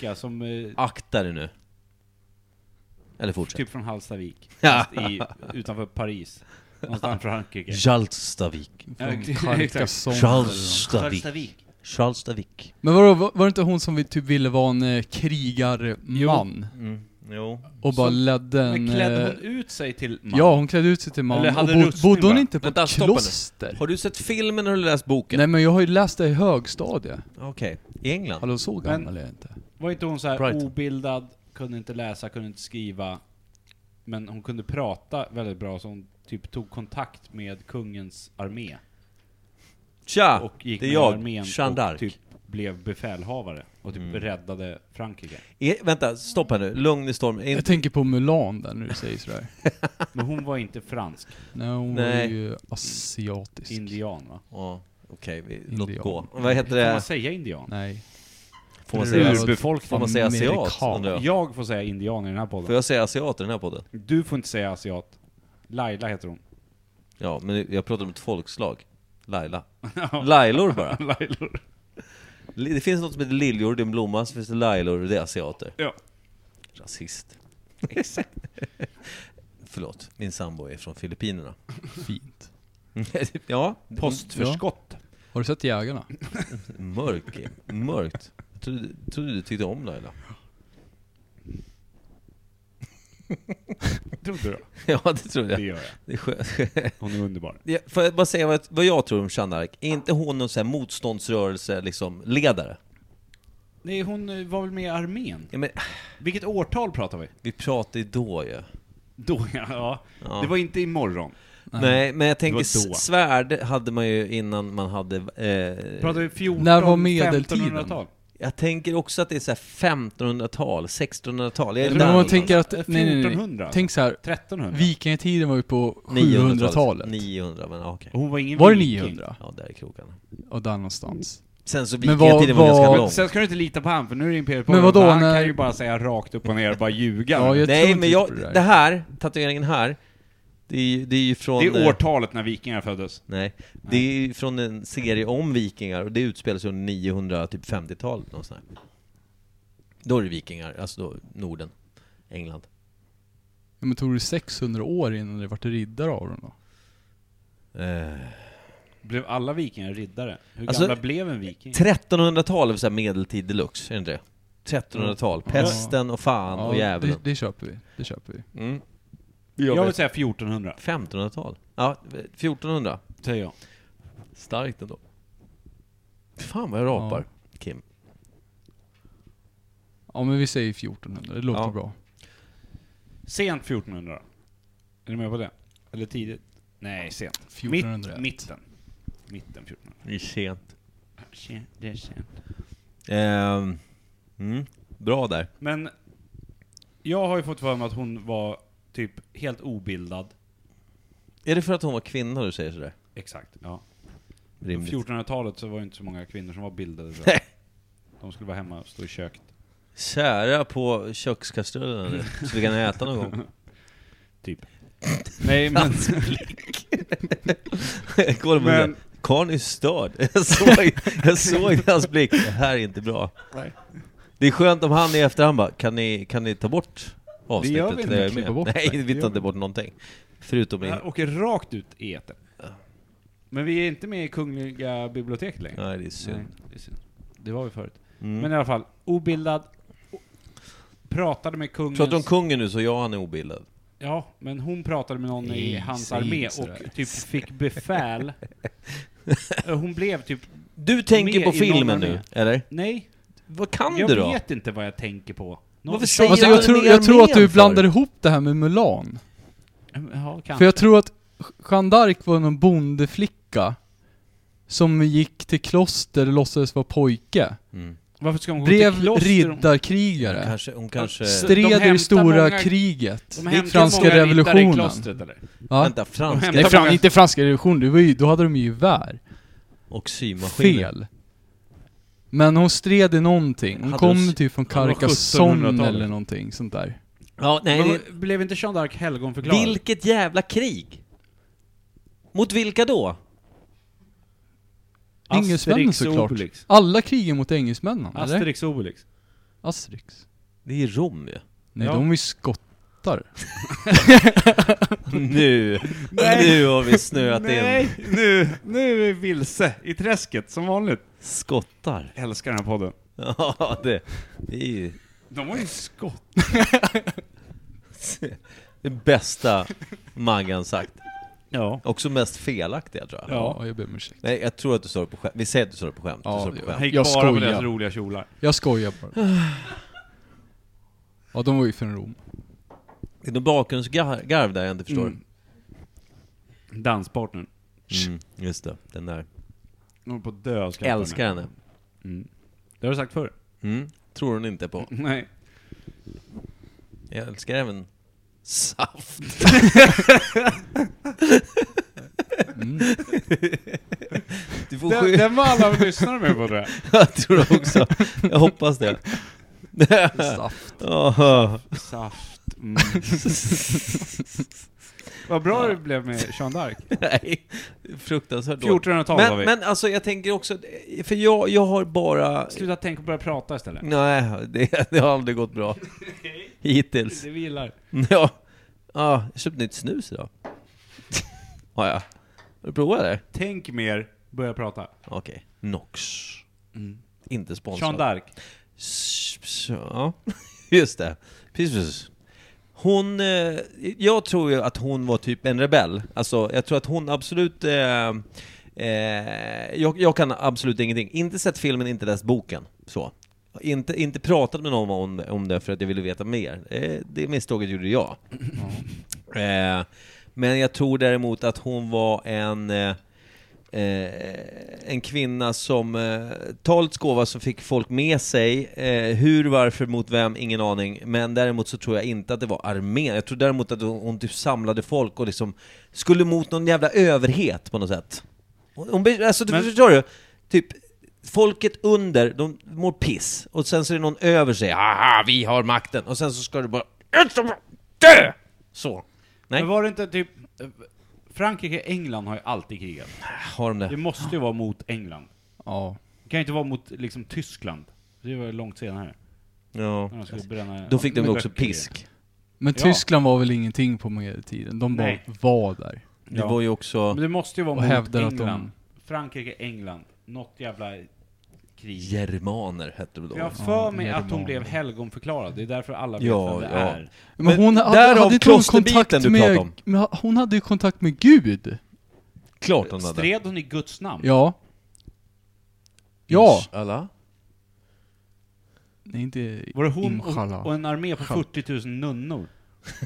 Ja,
som eh,
akta dig nu. Eller fortsätt.
typ från Hallstavik?
[LAUGHS] Ja.
Fast i, utanför Paris. Någonstans från Frankrike.
Jalstavik.
Ja,
Från
[LAUGHS] exakt.
Carcassonne.
Jalstavik.
Hallstavik.
Jalstavik.
Men vadå, var, var det inte hon som vi typ ville vara en eh, krigarman?
Mm. Jo.
Och bara ledde en...
Men klädde
eh,
hon ut sig till man?
Ja, hon klädde ut sig till man.
Eller hade
och bo,
rustning
bodde hon
bara.
inte på
Vänta,
ett
stopp nu.
kloster?
Har du sett filmen eller läst boken?
Nej men jag har ju läst det i högstadiet.
Okej. I England?
Hallå, så
Men-
gammal är jag inte.
Var inte hon så här
Brighton.
obildad, kunde inte läsa, kunde inte skriva, men hon kunde prata väldigt bra så hon typ tog kontakt med kungens armé
Tja!
och gick
det
med
är
i
jag,
armén
Jeanne
och
d'Arc. Mm.
typ blev befälhavare och typ räddade Frankrike.
Är, E, vänta, stopp här nu. Lugn i storm. Är
Jag
inte-
tänker på Mulan där när du säger sådär.
Men hon var inte fransk,
Nej, hon var
Nej.
ju asiatisk.
indian va?
Ja, okej. vi-
Indian.
Låt gå. Vad heter
Får man
det?
säga indian?
Nej.
Får man säga, får
Urbefolkning.
man säga asiat?
Amerikan.
undrar jag?
Jag får säga indian i den här
Får
podden.
jag säga asiat i den här podden?
Du får inte säga asiat. Laila heter [LAUGHS] hon.
Ja, men jag pratar om ett folkslag. [LAUGHS] Laila. Lailor bara.
Lailor.
Li- Det finns något som heter liljor, det är en blomma, så finns det lailor och det är asiater.
Ja.
Rasist. [LAUGHS] [LAUGHS] Exakt. Förlåt, min sambo är från Filippinerna.
Fint.
ja,
Postförskott.
Har du sett Jägarna?
mörk, mörkt. Jag trodde, trodde du tyckte om Laila. [LAUGHS]
Trodde du?
Ja, det trodde
Det
jag.
gör jag.
Det är skönt.
Hon är underbar.
Ja, Får jag bara säga vad jag, vad jag tror om Jeanne d'Arc? Är inte hon någon sån här motståndsrörelse, liksom, ledare?
Nej, hon eh, var väl med i armén?
Ja, men,
Vilket årtal pratar vi?
vi pratade ju då ju.
Då, ja. ja.
Ja.
Det var inte imorgon.
Nej, men jag tänker
Det var då.
s- svärd hade man ju innan man hade... Eh,
Pratar vi 14,
När var medeltiden?
1500-tal?
jag tänker också att det är så här 1500-tal, 1600-tal. Jag är
Men
där alltså.
Men om man
någonstans.
tänker att, nej,
1400.
nej, nej. Tänk så här,
1300?
vikingatiden var ju på
900-talet.
700-talet.
900, men ja, okej.
Oh,
Hon var ingen
Var det
viking.
900?
Ja, där är krokarna.
Och där någonstans.
Sen så
Men vad-
vikingatiden var,
vad-
ganska lång.
Men Sen ska du inte lita på han, för nu är det Imperiet på
Men vadå,
Han
när-
kan ju bara säga rakt upp och ner och bara ljuga.
Ja, jag tror
Nej,
inte
men jag,
på det där.
det här, tatueringen här, det är ju, det är ju från...
Det
eh,
är årtalet när vikingar föddes.
Nej, det är ju från en serie om vikingar och det utspelar sig under typ 950-talet någonstans. Då är det vikingar, alltså då Norden, England.
Ja, Men tog det 600 år innan det vart riddare av dem då?
Eh,
Blev alla vikingar riddare? Hur
Alltså,
gamla blev en viking?
1300-tal är väl så här medeltid deluxe, är det inte det? 1300-tal, pesten och fan och
ja, det,
djävulen.
det köper vi. Det köper vi.
Mm.
Jag vill säga 1400,
1500-tal? Ja, 1400.
säger jag.
Starkt ändå. Fan vad jag rapar, Kim.
Ja men vi säger 1400, det låter
Ja.
bra.
Sent 1400 då? Är du med på det? Eller tidigt? Nej, sent.
1401.
Mitt, mitten. Mitten 1400.
Det är sent.
Tjena, Det är sent.
Ehm, mm, bra där.
Men jag har ju fått för mig att hon var typ helt obildad.
Är det för att hon var kvinna du säger sådär?
Exakt, ja. På
Rimligt.
1400-talet så var ju inte så många kvinnor som var bildade. Så
Nej.
de skulle vara hemma och stå i köket.
Kära på
[LAUGHS]
kökskastrullen eller? så vi kan äta någon gång.
Typ. Nej men...
Kolla på
Men-
det. Karln är störd. [LAUGHS] Jag såg, jag såg i hans blick, det här är inte bra.
Nej.
Det är skönt om han i efterhand bara, kan ni, kan ni ta bort
Det
avsnittet?
gör vi inte.
där jag är
Klippa
med?"
bort
Nej,
det.
vi tar inte bort någonting. Förutom min...
Det här åker rakt ut i etern. Men vi är inte med i Kungliga biblioteket längre.
Nej, det är synd.
Nej, det är synd. Det var vi förut.
Mm.
Men i alla fall, obildad. o- Pratade med kungens...
Pratar om kungen nu så ja, han är obildad.
Ja, men hon pratade med någon i
Nej,
hans
säg
armé
inte sådär.
och typ fick
[LAUGHS]
befäl. Hon blev typ,
Du tänker
Med
på
i någon
filmen nu,
armé.
eller?
nej,
Vad kan
jag
du då?
vet inte vad jag tänker på. Någon-
Varför säger
Alltså
jag
jag tror,
aldrig
jag tror att
armén
du
för?
blandar ihop det här med Mulan.
Mm, Ja, kanske.
För jag tror att Jeanne d'Arc var någon bondeflicka som gick till kloster och låtsades vara pojke.
Mm.
Varför ska hon gå
Blev
till kloster?
Hon
riddarkrigare.
kanske, hon kanske...
Så- de
Stred i
hämtar
det stora
många-
kriget.
De hämtar
franska
många riddare i
revolutionen.
klostret, eller?
Va?
Vänta, franska
Nej,
hämtar
fram,
många-
inte franska revolutionen, det var ju, då hade de ju gevär.
och symaskiner.
Fel. Men hon stred i någonting. Hon
Hade
kom
hon-
typ från
var
Carcassonne
1700-talet.
eller någonting sånt där.
Ja, nej,
Men
det,
Blev inte Jeanne d'Arc helgonförklarad?
Vilket jävla krig! Mot vilka då?
Engelsmännen
Asterix och
såklart.
Obelix.
Alla krigen mot engelsmännen, eller?
Asterix och Obelix.
Asterix.
Det är Rom [LAUGHS] ju.
Nej,
Ja.
de är ju skottar.
Nu, nu har vi snöat in.
nu, nu är vi vilse i träsket som vanligt.
Skottar.
Älskar den här podden.
Ja, det, det är ju
De var ju skott.
det bästa Maggan sagt.
Ja.
Också mest felaktiga tror jag.
Ja.
Ja, jag ber om ursäkt.
Nej, jag tror att du sa det på skämt. Vi säger att du sa det på skämt.
Ja,
du sa det på
det
Han
skämt.
gick
Jag
bara på
skojar.
deras roliga kjolar.
Jag skojar
[SIGHS]
bara. Ja, de var ju från Rom.
Det är någon bakgrundsgarv där jag inte förstår. Mm.
Mm. Danspartnern.
just det, den där.
De håller på att dö av skratt.
Älskar henne.
Mm. Det har du sagt förr.
Mm. Tror hon inte på.
Nej.
Jag älskar även saft. [LAUGHS]
Mm.
Du får
Den,
skylla.
den var alla lyssnare med på tror jag.
[LAUGHS] Jag tror också. Jag hoppas det.
Saft.
Åh.
Saft. [LAUGHS] Mm. Vad bra det blev med Jeanne d'Arc. [LAUGHS]
Nej, fruktansvärt dåligt.
1400-tal var
Men,
vi.
men alltså jag tänker också, för jag, jag har bara...
Sluta tänka och börja prata istället.
Nej, det, det har aldrig gått bra. Hittills.
Det vi gillar.
Ja. ja, jag köpte nytt snus idag. Har jag. Har du provat det?
Tänk mer, börja prata.
Okej. Nox.
Mm.
Inte sponsrad.
Jean d'Arc.
S- s- Ja, [LAUGHS] just det. Precis, precis. Hon, eh, jag tror ju att hon var typ en rebell. Alltså, jag tror att hon absolut... Eh, eh, jag, jag kan absolut ingenting. Inte sett filmen, inte läst boken. Så. Inte, inte pratat med någon om, om det för att jag ville veta mer. Eh, det misstaget gjorde jag. Eh, men jag tror däremot att hon var en... Eh, eh, en kvinna som eh, talets gåva som fick folk med sig. Eh, hur, varför, mot vem, ingen aning. Men däremot så tror jag inte att det var armén. Jag tror däremot att hon, hon typ samlade folk och liksom skulle mot någon jävla överhet på något sätt. Hon, hon, be- alltså,
Men-
du, förstår du? Typ, folket under, de mår piss. Och sen så är det någon över sig. Haha, vi har makten. Och sen så ska du bara... Dö! Så. Nej,
Men var det inte typ... Frankrike och England har ju alltid krigat.
har de
Det
det?
måste ju vara mot England.
Ja.
Det kan ju inte vara mot liksom Tyskland. Det var ju långt senare.
Ja.
När de skulle bränna
Då fick de
Ja,
också
böcker.
pisk.
Men
Ja.
Tyskland var väl ingenting på medeltiden? De bara
Nej.
var där.
Det var ju också...
Men det måste ju vara
Och
mot
hävdar att de-
England. Frankrike, England. Något jävla krig.
Germaner hette det då.
Jag har
Ja,
för mig att hon
germaner.
blev helgonförklarad. Det är därför alla vet
Ja,
vem det
ja.
är.
Men,
Men
hon hade,
därav
hade inte hon
klosterbiten
kontakt
du pratar
med...
om.
Men ha- hon hade ju kontakt med Gud.
Klart hon hade.
Stred hon i Guds namn?
Ja. Ja.
Alla?
Nej, inte
Var det hon
Inshallah.
och, och en armé på 40 000 nunnor?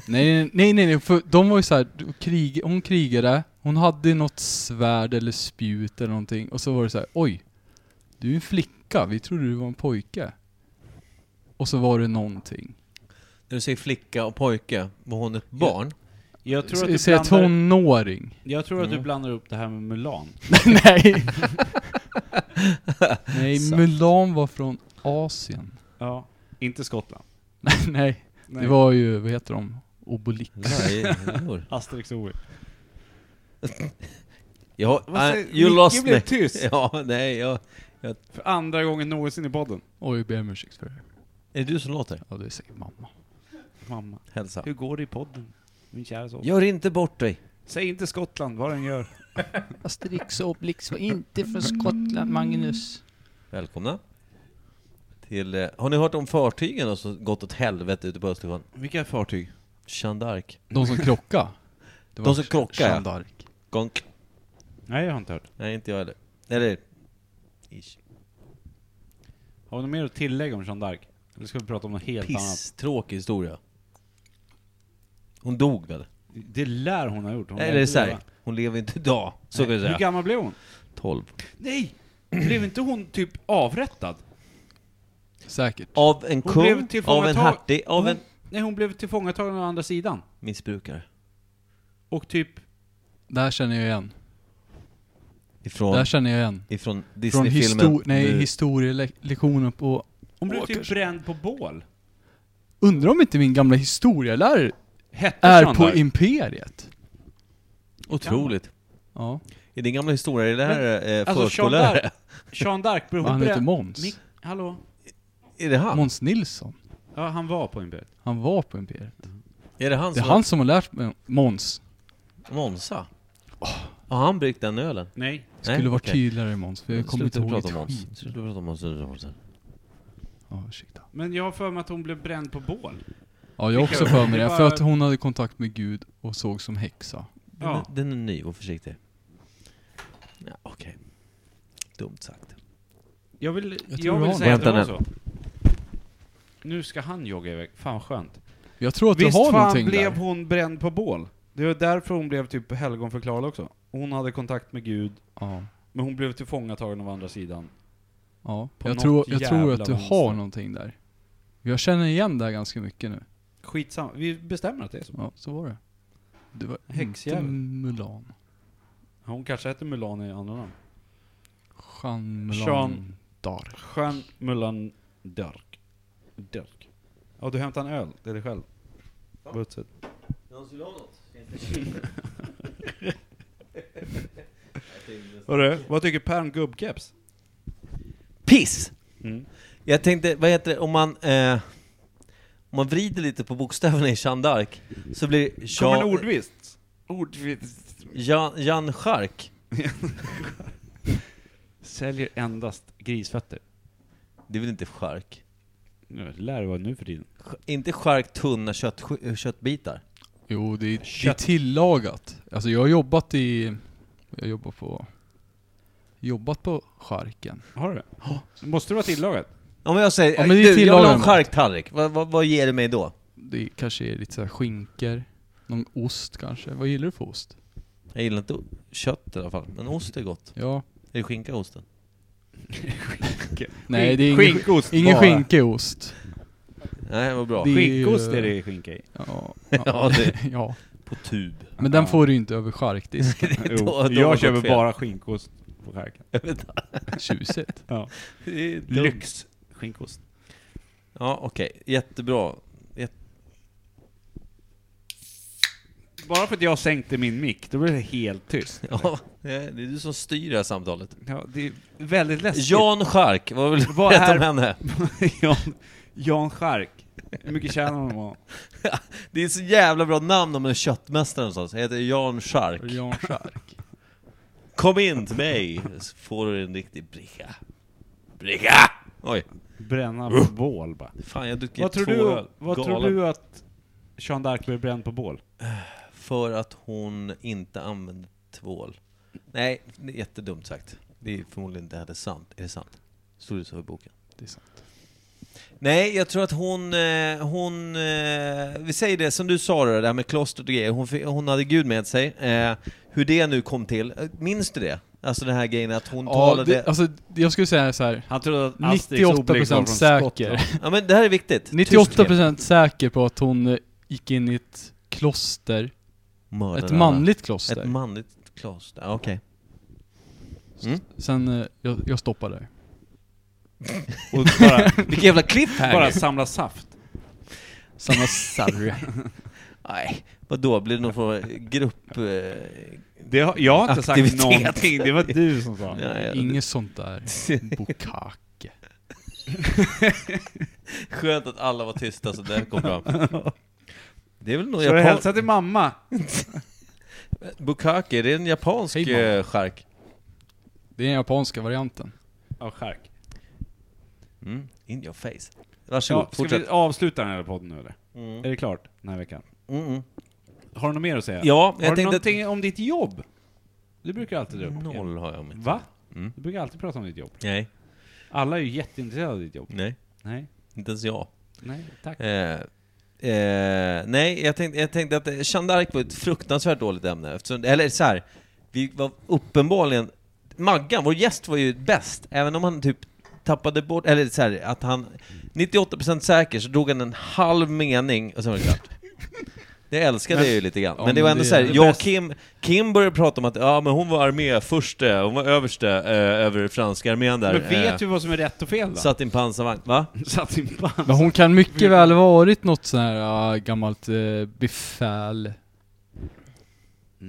Nej, nej, nej, nej, för de var ju så här, du- krig, hon krigade, hon hade något svärd eller spjut eller någonting, och så var det så här, oj, du är en flicka, vi trodde du var en pojke. Och så var det någonting.
När du säger flicka och pojke, var hon ett barn?
Jag tror, att
S-
du
Säg Mm.
blandar, [LAUGHS]
tonåring.
jag tror att du blandar upp det här med Mulan.
nej! [LAUGHS] nej, Mulan var från Asien. [LAUGHS]
Ja. Inte Skottland.
nej, det var ju, vad heter de? Obelix.
Lajjor.
Asterix och Obelix.
Ja,
Vad
äh,
säger-
you
Micke
lost
blev
me.
tyst.
[LAUGHS] Ja, nej, jag...
För andra gången någonsin i podden.
Oj, jag ber om ursäkt för det.
Är det du som låter?
Ja, det säger mamma.
Mamma.
Hälsa.
Hur går det i podden? Min kära son.
Gör inte bort dig.
Säg inte Skottland, vad den gör.
Asterix och Obelix var inte från Skottland, Magnus.
Välkomna. Till, eh, har ni hört om fartygen och så gått åt helvete ute på Östersjön?
Vilka fartyg?
Jeanne d'Arc.
De som krockade. Det var
De som krockade, ja.
Jeanne d'Arc.
Gonk.
Nej, jag har inte hört.
Nej, inte jag heller. Eller... Ish.
Har vi något mer att tillägga om Jeanne d'Arc? Eller ska vi prata om något helt annat?
Pisstråkig historia. Hon dog väl?
Det lär hon ha gjort. Hon lär
Eller
inte
såhär,
leva.
hon lever inte idag. Så kan vi
Hur
säga.
gammal blev hon?
12.
Nej! Blev inte hon typ avrättad?
Säkert.
Av en
Hon
kung,
blev tillfångatagen-
av en hertig, av
hon,
en
Nej, hon blev tillfångatagen å andra sidan.
missbrukare.
Och typ...
Där känner jag igen. Där
Ifrån,
känner jag igen.
ifrån
Från
Disney-filmen.
histor nej,
Nu-
historielektionen på...
Hon blev typ
Åkers.
bränd på bål.
Undrar om inte min gamla historielärare
Hette
är
Jeanne
på
d'Arc?
Imperiet?
Otroligt.
Ja.
I din gamla historia, är det här eh,
Alltså,
förskollärare?
Jeanne Jeanne d'Arc, blev
Vad
hon
han heter
bränd...
Måns.
Mick- Hallå?
[LAUGHS] Är det han?
Måns Nilsson.
Ja, han var på Imperiet.
Han var på Imperiet.
Är det han
Det är
som
han som har lärt mig Måns.
Monsa? Har han bryggt den ölen?
Nej.
Nej,
Skulle vara
okej.
tydligare Måns, för jag kommer inte
Sluta
ihåg
prata
ett
om oss.
skit.
Sluta prata om oss. Sluta prata om oss.
Ja, ursäkta.
Men jag har för mig att hon blev bränd på bål.
Ja, jag har också
Vilka-
för mig
det är
det. För
bara-
att hon hade kontakt med Gud och såg som häxa.
Den,
Ja.
är, den är ny och försiktig. Ja, Okej. Dumt sagt.
Jag vill, jag
tror du
vill
har
säga att det
den.
var
Hämta
så. Nu ska han jogga iväg. Fan vad skönt.
Jag tror att
Visst
du har
fan
någonting
blev
där.
hon bränd på bål. Det var därför hon blev typ helgonförklarad också. Hon hade kontakt med Gud,
Ja.
men hon blev tillfångatagen av andra sidan.
Ja,
På
jag
något
tror, jag tror
jävla
att du
vänster.
har någonting där. Jag känner igen det här ganska mycket nu.
Skitsamma, vi bestämmer att det är så.
Ja, så var det. Det var inte
Häxjävel.
Mulan.
Hon kanske heter Mulan i andra namn.
Jean Mulan
Jean.
Dark.
Jean Mulan Dirk. Dirk. Ja, du hämtar en öl till dig själv. Butset. Hörru, vad tycker Per om gubbkeps?
Piss!
Mm.
Jag tänkte, vad heter det, om man... Eh, om man vrider lite på bokstäverna i Jeanne d'Arc så blir
Kommer
Jean...
en ordvits? Ordvits.
Jan, Jan Schark.
Säljer endast grisfötter.
Det är väl inte Schark?
Nu lär det vara nu för tiden.
Sch- Inte Schark tunna kött, köttbitar?
Jo, det är, det är
Kött.
tillagat. Alltså jag har jobbat i... Jag jobbar på... Jobbat på charken.
Har du det? Måste det vara tillagat?
Om jag säger,
Ja, men det är
du, jag vill ha
tillagat
en
mat.
charktallrik, vad, vad, vad ger det mig då?
Det är, kanske är lite så här skinker, någon ost kanske. Vad gillar du för ost?
Jag gillar inte o- kött i alla fall, men ost är gott.
Ja.
Är det skinka i osten?
Nej, det är ingen,
skinkost.
ingen
bara.
skinkeost.
Nej, vad bra.
Det är ju-
Skinkost är det skinka
[LAUGHS]
i. [LAUGHS]
Ja.
Ja, det-
[LAUGHS] ja.
På tub.
Men den får du ju inte
[LAUGHS]
över charkdisk.
Jo,
då har det
jag
gått
köper
fel.
bara skinkost på skärken.
Tjusigt.
Lyx skinkost.
Ja, okej. Jättebra.
Bara för att jag sänkte min mick, då blev det helt tyst.
Ja, [LAUGHS] det är du som styr det här samtalet.
Ja, det är väldigt läskigt. [LAUGHS]
Jan Schark, vad vill du
Vad
berätta
är-
om henne?
Jan, Jan Schark. Hur mycket tjänar han på?
Det är så jävla bra namn om en köttmästare någonstans. Jag heter Jan Schark.
Jan Schark.
Kom in till mig, så får du en riktig bricka. Bricka! Oj,
Bränna på bål bara.
fan jag dricker
Vad tror,
två
du,
öl.
vad tror
Galen.
du att Jeanne d'Arc blev bränd på bål?
För att hon inte använde tvål. Nej, det är jättedumt sagt. Det är förmodligen inte heller sant. Är det sant? Stod det så i boken?
Det är sant.
Nej, jag tror att hon, eh, hon, eh, vi säger det som du sa då, det här med kloster och grejer, hon, fick- hon hade Gud med sig. Eh, hur det nu kom till, Eh, minns du det? Alltså den här grejen att hon
Ja,
talade...
det, alltså jag skulle säga så här.
Han trodde att
98% säker.
Ja men det här är viktigt.
98% säker på att hon eh, gick in i ett kloster.
Mördarna.
Ett manligt
Ett
kloster.
manligt kloster, Ja, okej.
Sen, eh, jag, jag stoppar där.
Och bara,
Vilken jävla klipp
bara
här!
samla saft. [LAUGHS]
Samma sarre.
Nej, vadå? Blir det någon form av grupp... Eh,
Det har, jag har inte
Aktivitet.
sagt någonting, det var du
[LAUGHS]
som sa.
nej, jag-
Inget sånt där. Bukake.
Skönt att alla var tysta så det
[LAUGHS]
kom fram. Det är väl någon
Ska du
japan...
hälsa till mamma?
Bukake, det är en japansk
Hej, mamma.
eh, chark.
Det är den japanska varianten.
Ja, skärk.
Mm. In your face. Varsågod,
Ja, ska
fortsätt.
vi avsluta den här podden nu eller?
Mm.
Är det klart den här veckan?
Mm, mm.
Har du något mer att säga?
Ja,
har
jag
du
tänkte att...
någonting om ditt jobb? Du brukar alltid dra upp det.
Noll har jag om inte.
Va?
Mm.
Du brukar alltid prata om ditt jobb.
Nej,
Alla är ju jätteintresserade av ditt jobb.
nej.
Nej,
Inte ens jag.
nej, tack.
Eh, eh, nej, jag tänkte, jag tänkte att eh, Jeanne d'Arc var ett fruktansvärt dåligt ämne. Eftersom, eller så här, vi var uppenbarligen... Maggan, vår gäst, var ju bäst. Även om han typ tappade bort... Eller så här, att han... 98% säker så drog han en halv mening och sen var det klart. Det älskade jag ju lite grann.
ja,
men det var
men
ändå
det
så
är
här,
det
jag och
bästa.
Kim, Kim började prata om att ja, men hon var arméfurste, hon var överste eh, över franska armén där.
Men vet
eh,
du vad som är rätt och fel då?
Satt i en pansarvagn. Va?
[LAUGHS] Satt i en band.
Men hon kan mycket väl ha varit något sånt här äh, gammalt äh, befäl.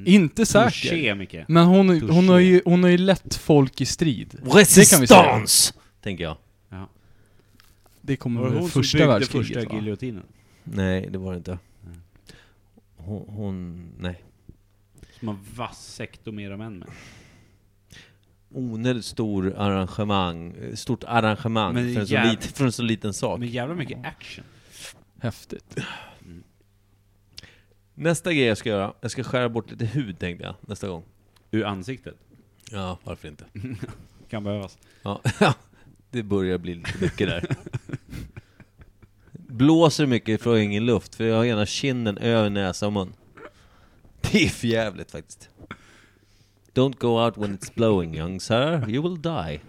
Inte säker.
Mm. Touché, Micke.
Mm,
Men hon, hon, har
Touché.
ju, hon har ju lett folk i strid. Det kan vi säga.
Resistans! Tänker jag.
Det
Var
kommer
det
väl
hon som
första
byggde
världskriget
första
va?
giljotinen?
Nej, det var det inte. Hon, hon nej.
Som man vassektomerar män med.
Onödigt stor arrangemang, eh, stort arrangemang
Men
för en, så
jäv-
lit, för en så liten sak.
Men jävla mycket action.
Häftigt.
Nästa grej jag ska göra, jag ska skära bort lite hud tänkte jag, nästa gång.
Ur ansiktet.
Ja, varför inte?
Kan behövas.
Ja, [LAUGHS] det börjar bli lite mycket där. Blåser mycket får jag ingen luft, för jag har ena kinden över näsa och mun. Det är för jävligt faktiskt. Don't go out when it's blowing young sir, you will die.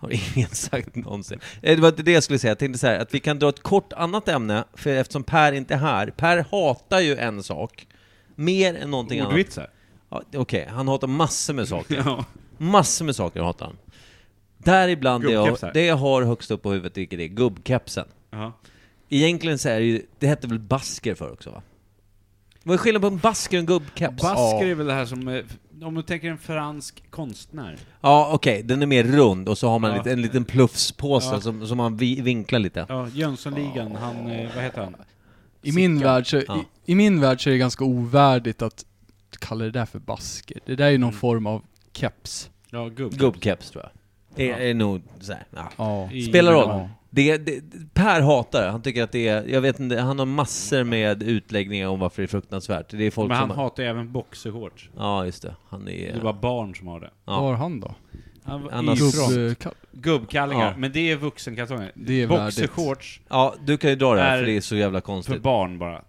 Har ingen sagt någonsin. Eh, Det var inte det jag skulle säga, jag tänkte så här, att vi kan dra ett kort annat ämne, för eftersom Per inte är här. Per hatar ju en sak, mer än någonting annat.
Ordvitsar.
Ja, Okej, han hatar massor med saker.
Ja.
Massor med saker hatar han. Däribland det jag,
Gubbkepsar.
det jag har högst upp på huvudet, vilket är gubbkepsen.
Ja.
Egentligen så är det ju, det hette väl basker för också va? Vad är skillnaden på en basker och en gubbkeps?
Basker är väl det här som, eh, om du tänker en fransk konstnär.
Ja okej, den är mer rund och så har man
Ja.
lite, en liten plufspåse
Ja.
som, som man vi, vinklar lite.
Ja, Jönssonligan, han, eh, vad heter han?
I min, värld så,
Ja.
i, I min värld så är det ganska ovärdigt att kallar det där för basker? Det där är ju någon
Mm.
form av keps.
Ja, gubb.
Gubbkeps tror jag. Är,
Ja.
är nog såhär, ja.
Ja.
I-
Spelar roll.
Ja.
Det, det, per hatar det. Han tycker att det är, jag vet inte, han har massor med utläggningar om varför det är fruktansvärt. Det är folk
Men han
som...
hatar ju även boxershorts.
Ja, just det. Han
Det
är...
är bara barn som har det.
Vad har
ja.
han då?
Han var
Annars-
ifrån.
Gubbkall-
Gubbkallingar.
Ja.
Men det är vuxenkartonger.
Det är värdigt.
Boxershorts
ja, du kan ju dra det här
Är-
för det är så jävla
för
konstigt.
barn bara.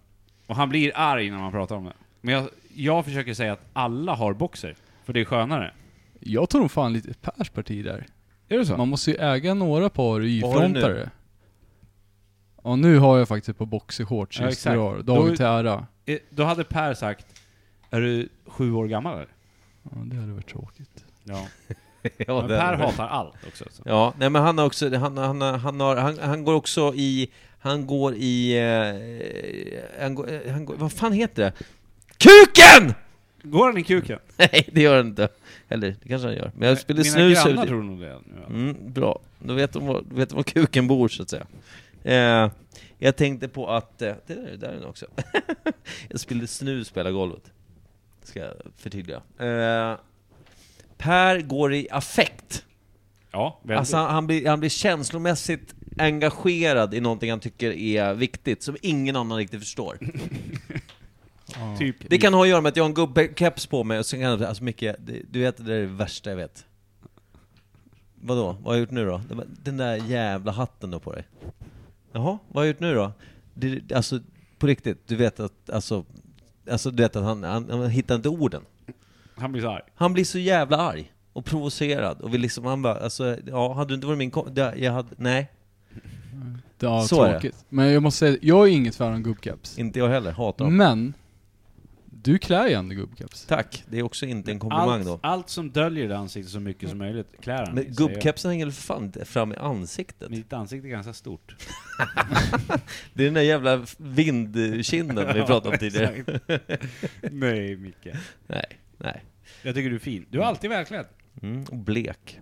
Och han blir arg när man pratar om det. Men jag, jag försöker säga att alla har boxer. För det är skönare.
Jag tror nog fan lite Pers parti där.
Är det så?
Man måste ju äga några par
Vad har du nu?
Y-frontare. Ja nu har jag faktiskt ett par boxershorts
Ja,
just
exakt.
idag.
Då-
Dagen till ära.
Eh, Då hade Per sagt, är du sju år gammal eller?
Ja, det hade varit tråkigt.
Ja.
Ja,
Men
det-
Per hatar allt också. Så.
Ja, nej men han har också, han, han, han, har, han, han går också i, han går i, eh, han går, eh, han går, vad fan heter det? KUKEN! [LAUGHS]
Går han i kuken?
Nej, det gör han inte. Eller, det kanske han gör. Men jag spelade
Mina
snus
grannar
ut-
tror nog det. nu.
Mm, bra. Då vet de, var, då vet de var kuken bor, så att säga. Eh, jag tänkte på att... Eh, det där, det där är den också. [LAUGHS] jag spillde snus på hela golvet. Ska jag förtydliga. Eh, per går i affekt.
Ja, väldigt.
Alltså han, han, blir, han blir känslomässigt engagerad i någonting han tycker är viktigt, som ingen annan riktigt förstår.
Ja.
typ.
Det kan ha att göra med att jag har en gubbkeps på mig, och sen kan jag, alltså mycket, det, du vet det där är det värsta jag vet. Vadå? Vad har jag gjort nu då? Det var- Den där jävla hatten då på dig. Jaha, vad har jag gjort nu då? Det, alltså, på riktigt, du vet att, alltså, alltså du vet att han, han, han hittar inte orden.
Han blir så arg.
Han blir så jävla arg och provocerad och vill liksom, han bara, alltså, ja, hade du inte varit min kom- det- jag hade, nej,
Det var
Så är det.
tråkigt. Men jag måste säga, jag är inget fan av gubbcaps.
inte jag heller, hatar dem.
Men, du klär ju ändå gubbcaps.
Tack, det är också inte en komplimang då.
Allt, allt som döljer ditt ansikte så mycket som möjligt klär han i,
Men
säger jag.
gubbkepsen hänger väl för fan inte fram i ansiktet?
Mitt ansikte är ganska stort.
Det är den där jävla vindkinden vi
[LAUGHS]
pratade om tidigare.
Exakt. Nej, Micke.
Nej, nej.
Jag tycker du är fin. Du är alltid välklädd. Mm.
Mm, och blek.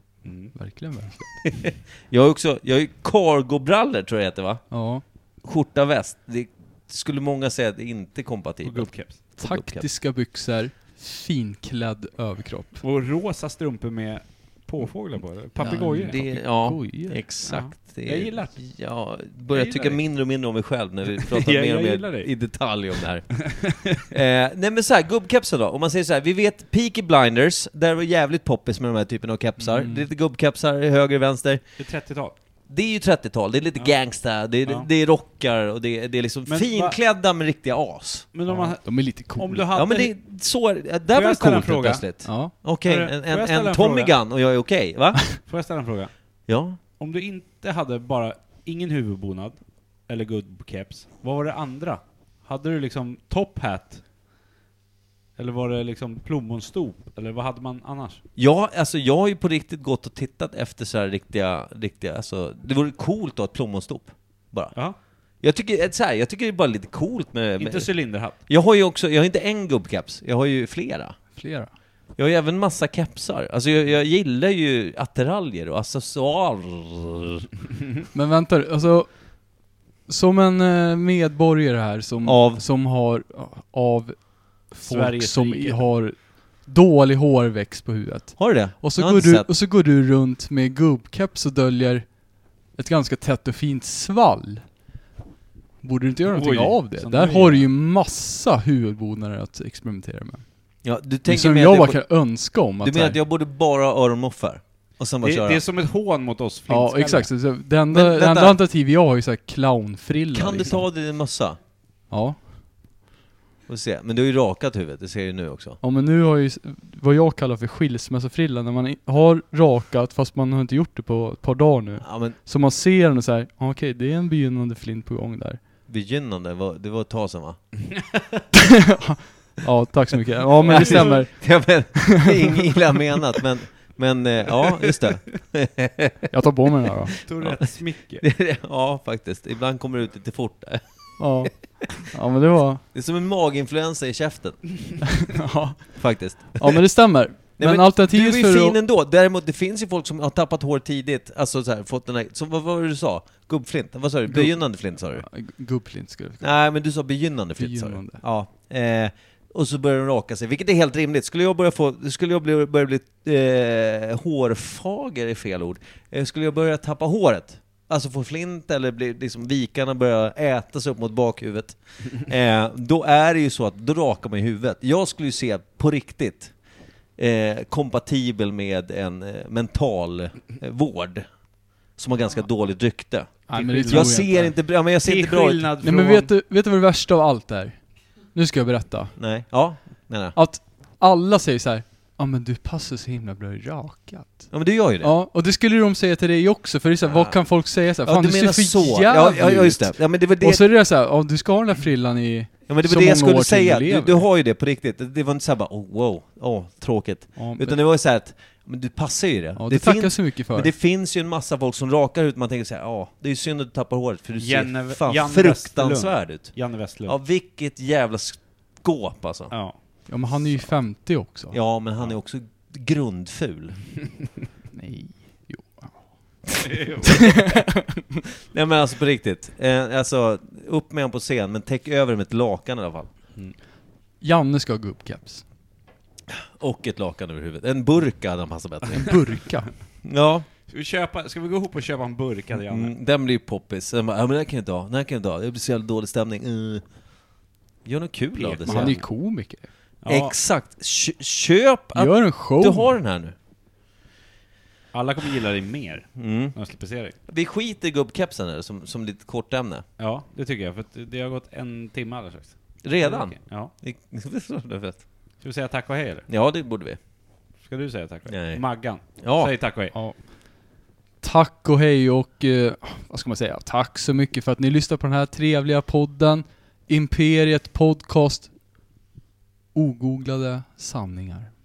Verkligen, verkligen.
Jag har också, jag har ju cargo-brallor tror jag det heter va?
Ja.
Skjorta, väst. Det skulle många säga att det inte är
Och
kompatibelt.
gubbkeps.
Taktiska byxor, finklädd överkropp.
Och rosa strumpor med påfåglar på. eller?
Ja,
Papegojor.
Det, ja,
Papegojor.
exakt. Det är-
Jag gillar
Ja, börjar
gillar
tycka
det.
mindre och mindre om mig själv när
[LAUGHS]
vi pratar
Jag-
mer
jag
och
gillar
mer
det.
i detalj om
[LAUGHS]
det här. eh, nej men så här, gubbkepsar då. Om man säger så här, vi vet Peaky Blinders, där var jävligt poppis med de här typen av kepsar.
Mm.
Det är lite gubbkepsar, höger, vänster.
Det är 30-tal.
Det är ju 30-tal, det är lite gangsta, det är,
Ja.
det är rockar och det är, det är liksom
Men
finklädda men riktiga as.
Men om, man,
De är lite
om du
coola.
hade...
Ja men det är så, det
jag
där var det
ställa en
coolt helt
fråga?
plötsligt.
Ja.
Okej,
Hörru,
en,
får jag
en,
ställa
en
en
Tommy
fråga?
Gun och jag är okej, va?
[LAUGHS] Får jag ställa en fråga?
Ja.
Om du inte hade bara ingen huvudbonad, eller gubbkeps, vad var det andra? Hade du liksom top hat? Eller var det liksom plommonstop? Eller vad hade man annars?
Ja, alltså jag har ju på riktigt gått och tittat efter så här riktiga, riktiga, alltså det vore coolt att ha ett plommonstop. Bara.
Ja.
Jag tycker, eh, så här, jag tycker det är bara lite coolt med, med
Inte cylinderhatt.
Jag har ju också, jag har inte en gubbkeps, jag har ju flera.
Flera.
Jag har ju även massa kepsar. Alltså jag, jag gillar ju attiraljer och accessoarer.
Men vänta alltså. Som en eh, medborgare här som,
Av?
som har, av folk
Sveriges
som
rike.
har dålig hårväxt på huvudet.
Har du det?
Och så,
Jag har
går
inte
du,
sett.
och så går du runt med gubbkeps och döljer ett ganska tätt och fint svall. Borde du inte göra någonting
Oj,
av det?
som
Där
du
har du
gör.
ju massa huvudbonader att experimentera med.
Ja, du
Det
tänker
som
mer
jag
att
bara
jag, bo-
kan önska om
Du
att... så
menar
här-
att jag borde bara ha öronmoffar? Och sen bara
Det,
köra?
det är som ett hån mot oss
Ja,
flintskalliga.
exakt. Så- så Det
Men
enda, det
vänta.
enda alternativet jag har är ju såhär clownfrilla. liksom.
Kan du ta av dig din mössa?
Ja.
Och se. Men du har ju rakat huvudet, det ser jag ju nu också.
Ja men nu har jag ju s- vad jag kallar för skilsmässofrilla, när man i- har rakat fast man har inte gjort det på ett par dagar nu.
Ja men
Så man ser den och såhär, ah, okej det är en begynnande flint på gång där.
begynnande, var- det var ett tag sedan va? [LAUGHS]
Ja, tack så mycket.
[LAUGHS]
Ja men det stämmer.
Ja, men, det är inget illa menat, men, men eh, ja, just det. [LAUGHS]
Jag tar på mig den här då.
Tourettes-Micke.
Ja, faktiskt. Ibland kommer det ut lite fort.
Ja. Ja men det var...
Det är som en maginfluensa i käften,
[LAUGHS] Ja,
faktiskt.
ja men det stämmer. Men,
men Du
alternativet
är ju
för
fin
att...
ändå. Däremot, det finns ju folk som har tappat hår tidigt, alltså så här, fått den här, som, vad vad var det du sa? Gubbflint? Vad sa du? Begynnande flint sa du?
Gubbflint skulle jag
Nej, men du sa begynnande flint sa du.
Begynnande.
Ja. Eh, Och så börjar de raka sig, vilket är helt rimligt. Skulle jag börja, få, skulle jag bli, börja bli eh, hårfager, är fel ord. Eh, skulle jag börja tappa håret, alltså få flint eller bli, liksom, vikarna börja äta sig upp mot bakhuvudet, eh, då är det ju så att då rakar man ju huvudet. Jag skulle ju se på riktigt eh, kompatibel med en eh, mental eh, vård som har ganska dåligt rykte.
Nej, men det
Jag
tror
Jag ser inte, ja, men jag ser
Till
inte bra ut.
skillnad
Nej
från...
men vet du, vet du vad det värsta av allt är? Nu ska jag berätta.
Nej, ja, nej, nej.
Att alla säger så här. Ja men du passar så himla bra i rakat.
Ja men du gör ju det.
Ja, och det skulle de säga till dig också, för det är så här, vad kan folk säga så här, Fan du, ser för
Ja,
jävligt
ja, ja, just det.
ut."
Ja men det var det,
Och så är det så här, ja du ska ha den där frillan i...
ja, men det,
så
var det
många
jag
år
skulle
till
säga.
du
Du,
lever.
du har ju det på riktigt. Det- Det var inte såhär bara oh, wow, åh, tråkigt.
Ja, men-
Utan det var ju såhär att, men du passar ju det.
Ja,
det
det tackar
finns-
så mycket för.
Men det finns ju en massa folk som rakar ut, man tänker såhär, ja, det är ju synd att du tappar håret för du ser
Janne-
fan
Jan
fruktansvärd ut.
Janne Westlund.
Ja,
Ja.
vilket jävla skåp alltså. Ja,
Ja men han är ju 50 också.
men han är också grundful.
Nej.
Nej men alltså på riktigt. Eh, alltså, upp med honom på scen, men täck över med ett lakan i alla fall.
Janne ska ha gubbkeps.
Och ett lakan över huvudet. En burka hade han passat bättre.
[LAUGHS] En burka.
[LAUGHS] Ja,
Ska, vi köpa, ska vi gå ihop och köpa en burk hade Janne?
mm, den blir ju poppis. Den bara, ja men den här kan jag inte ha, den här kan jag inte ha. Det blir så jävla dålig stämning. Mm. Gör något kul av det
Men
sen.
han är ju komiker.
Ja,
Exakt! Kö- Köp att
Gör en show.
du har den här nu.
alla kommer gilla dig mer
Mm.
när de slipper se dig.
Vi skiter i gubbkepsen här, som, som lite kortämne.
Ja, det tycker jag. För att det har gått en timme alldeles strax.
Redan?
Okej, Ja.
[LAUGHS] ja,
Ska vi säga tack och hej eller?
det borde vi.
Ska du säga tack och hej?
Nej.
Maggan,
Ja.
säg tack och hej.
Ja. Tack och hej och eh, vad ska man säga? Tack så mycket för att ni lyssnar på den här trevliga podden. Imperiet Podcast. Ogooglade sanningar.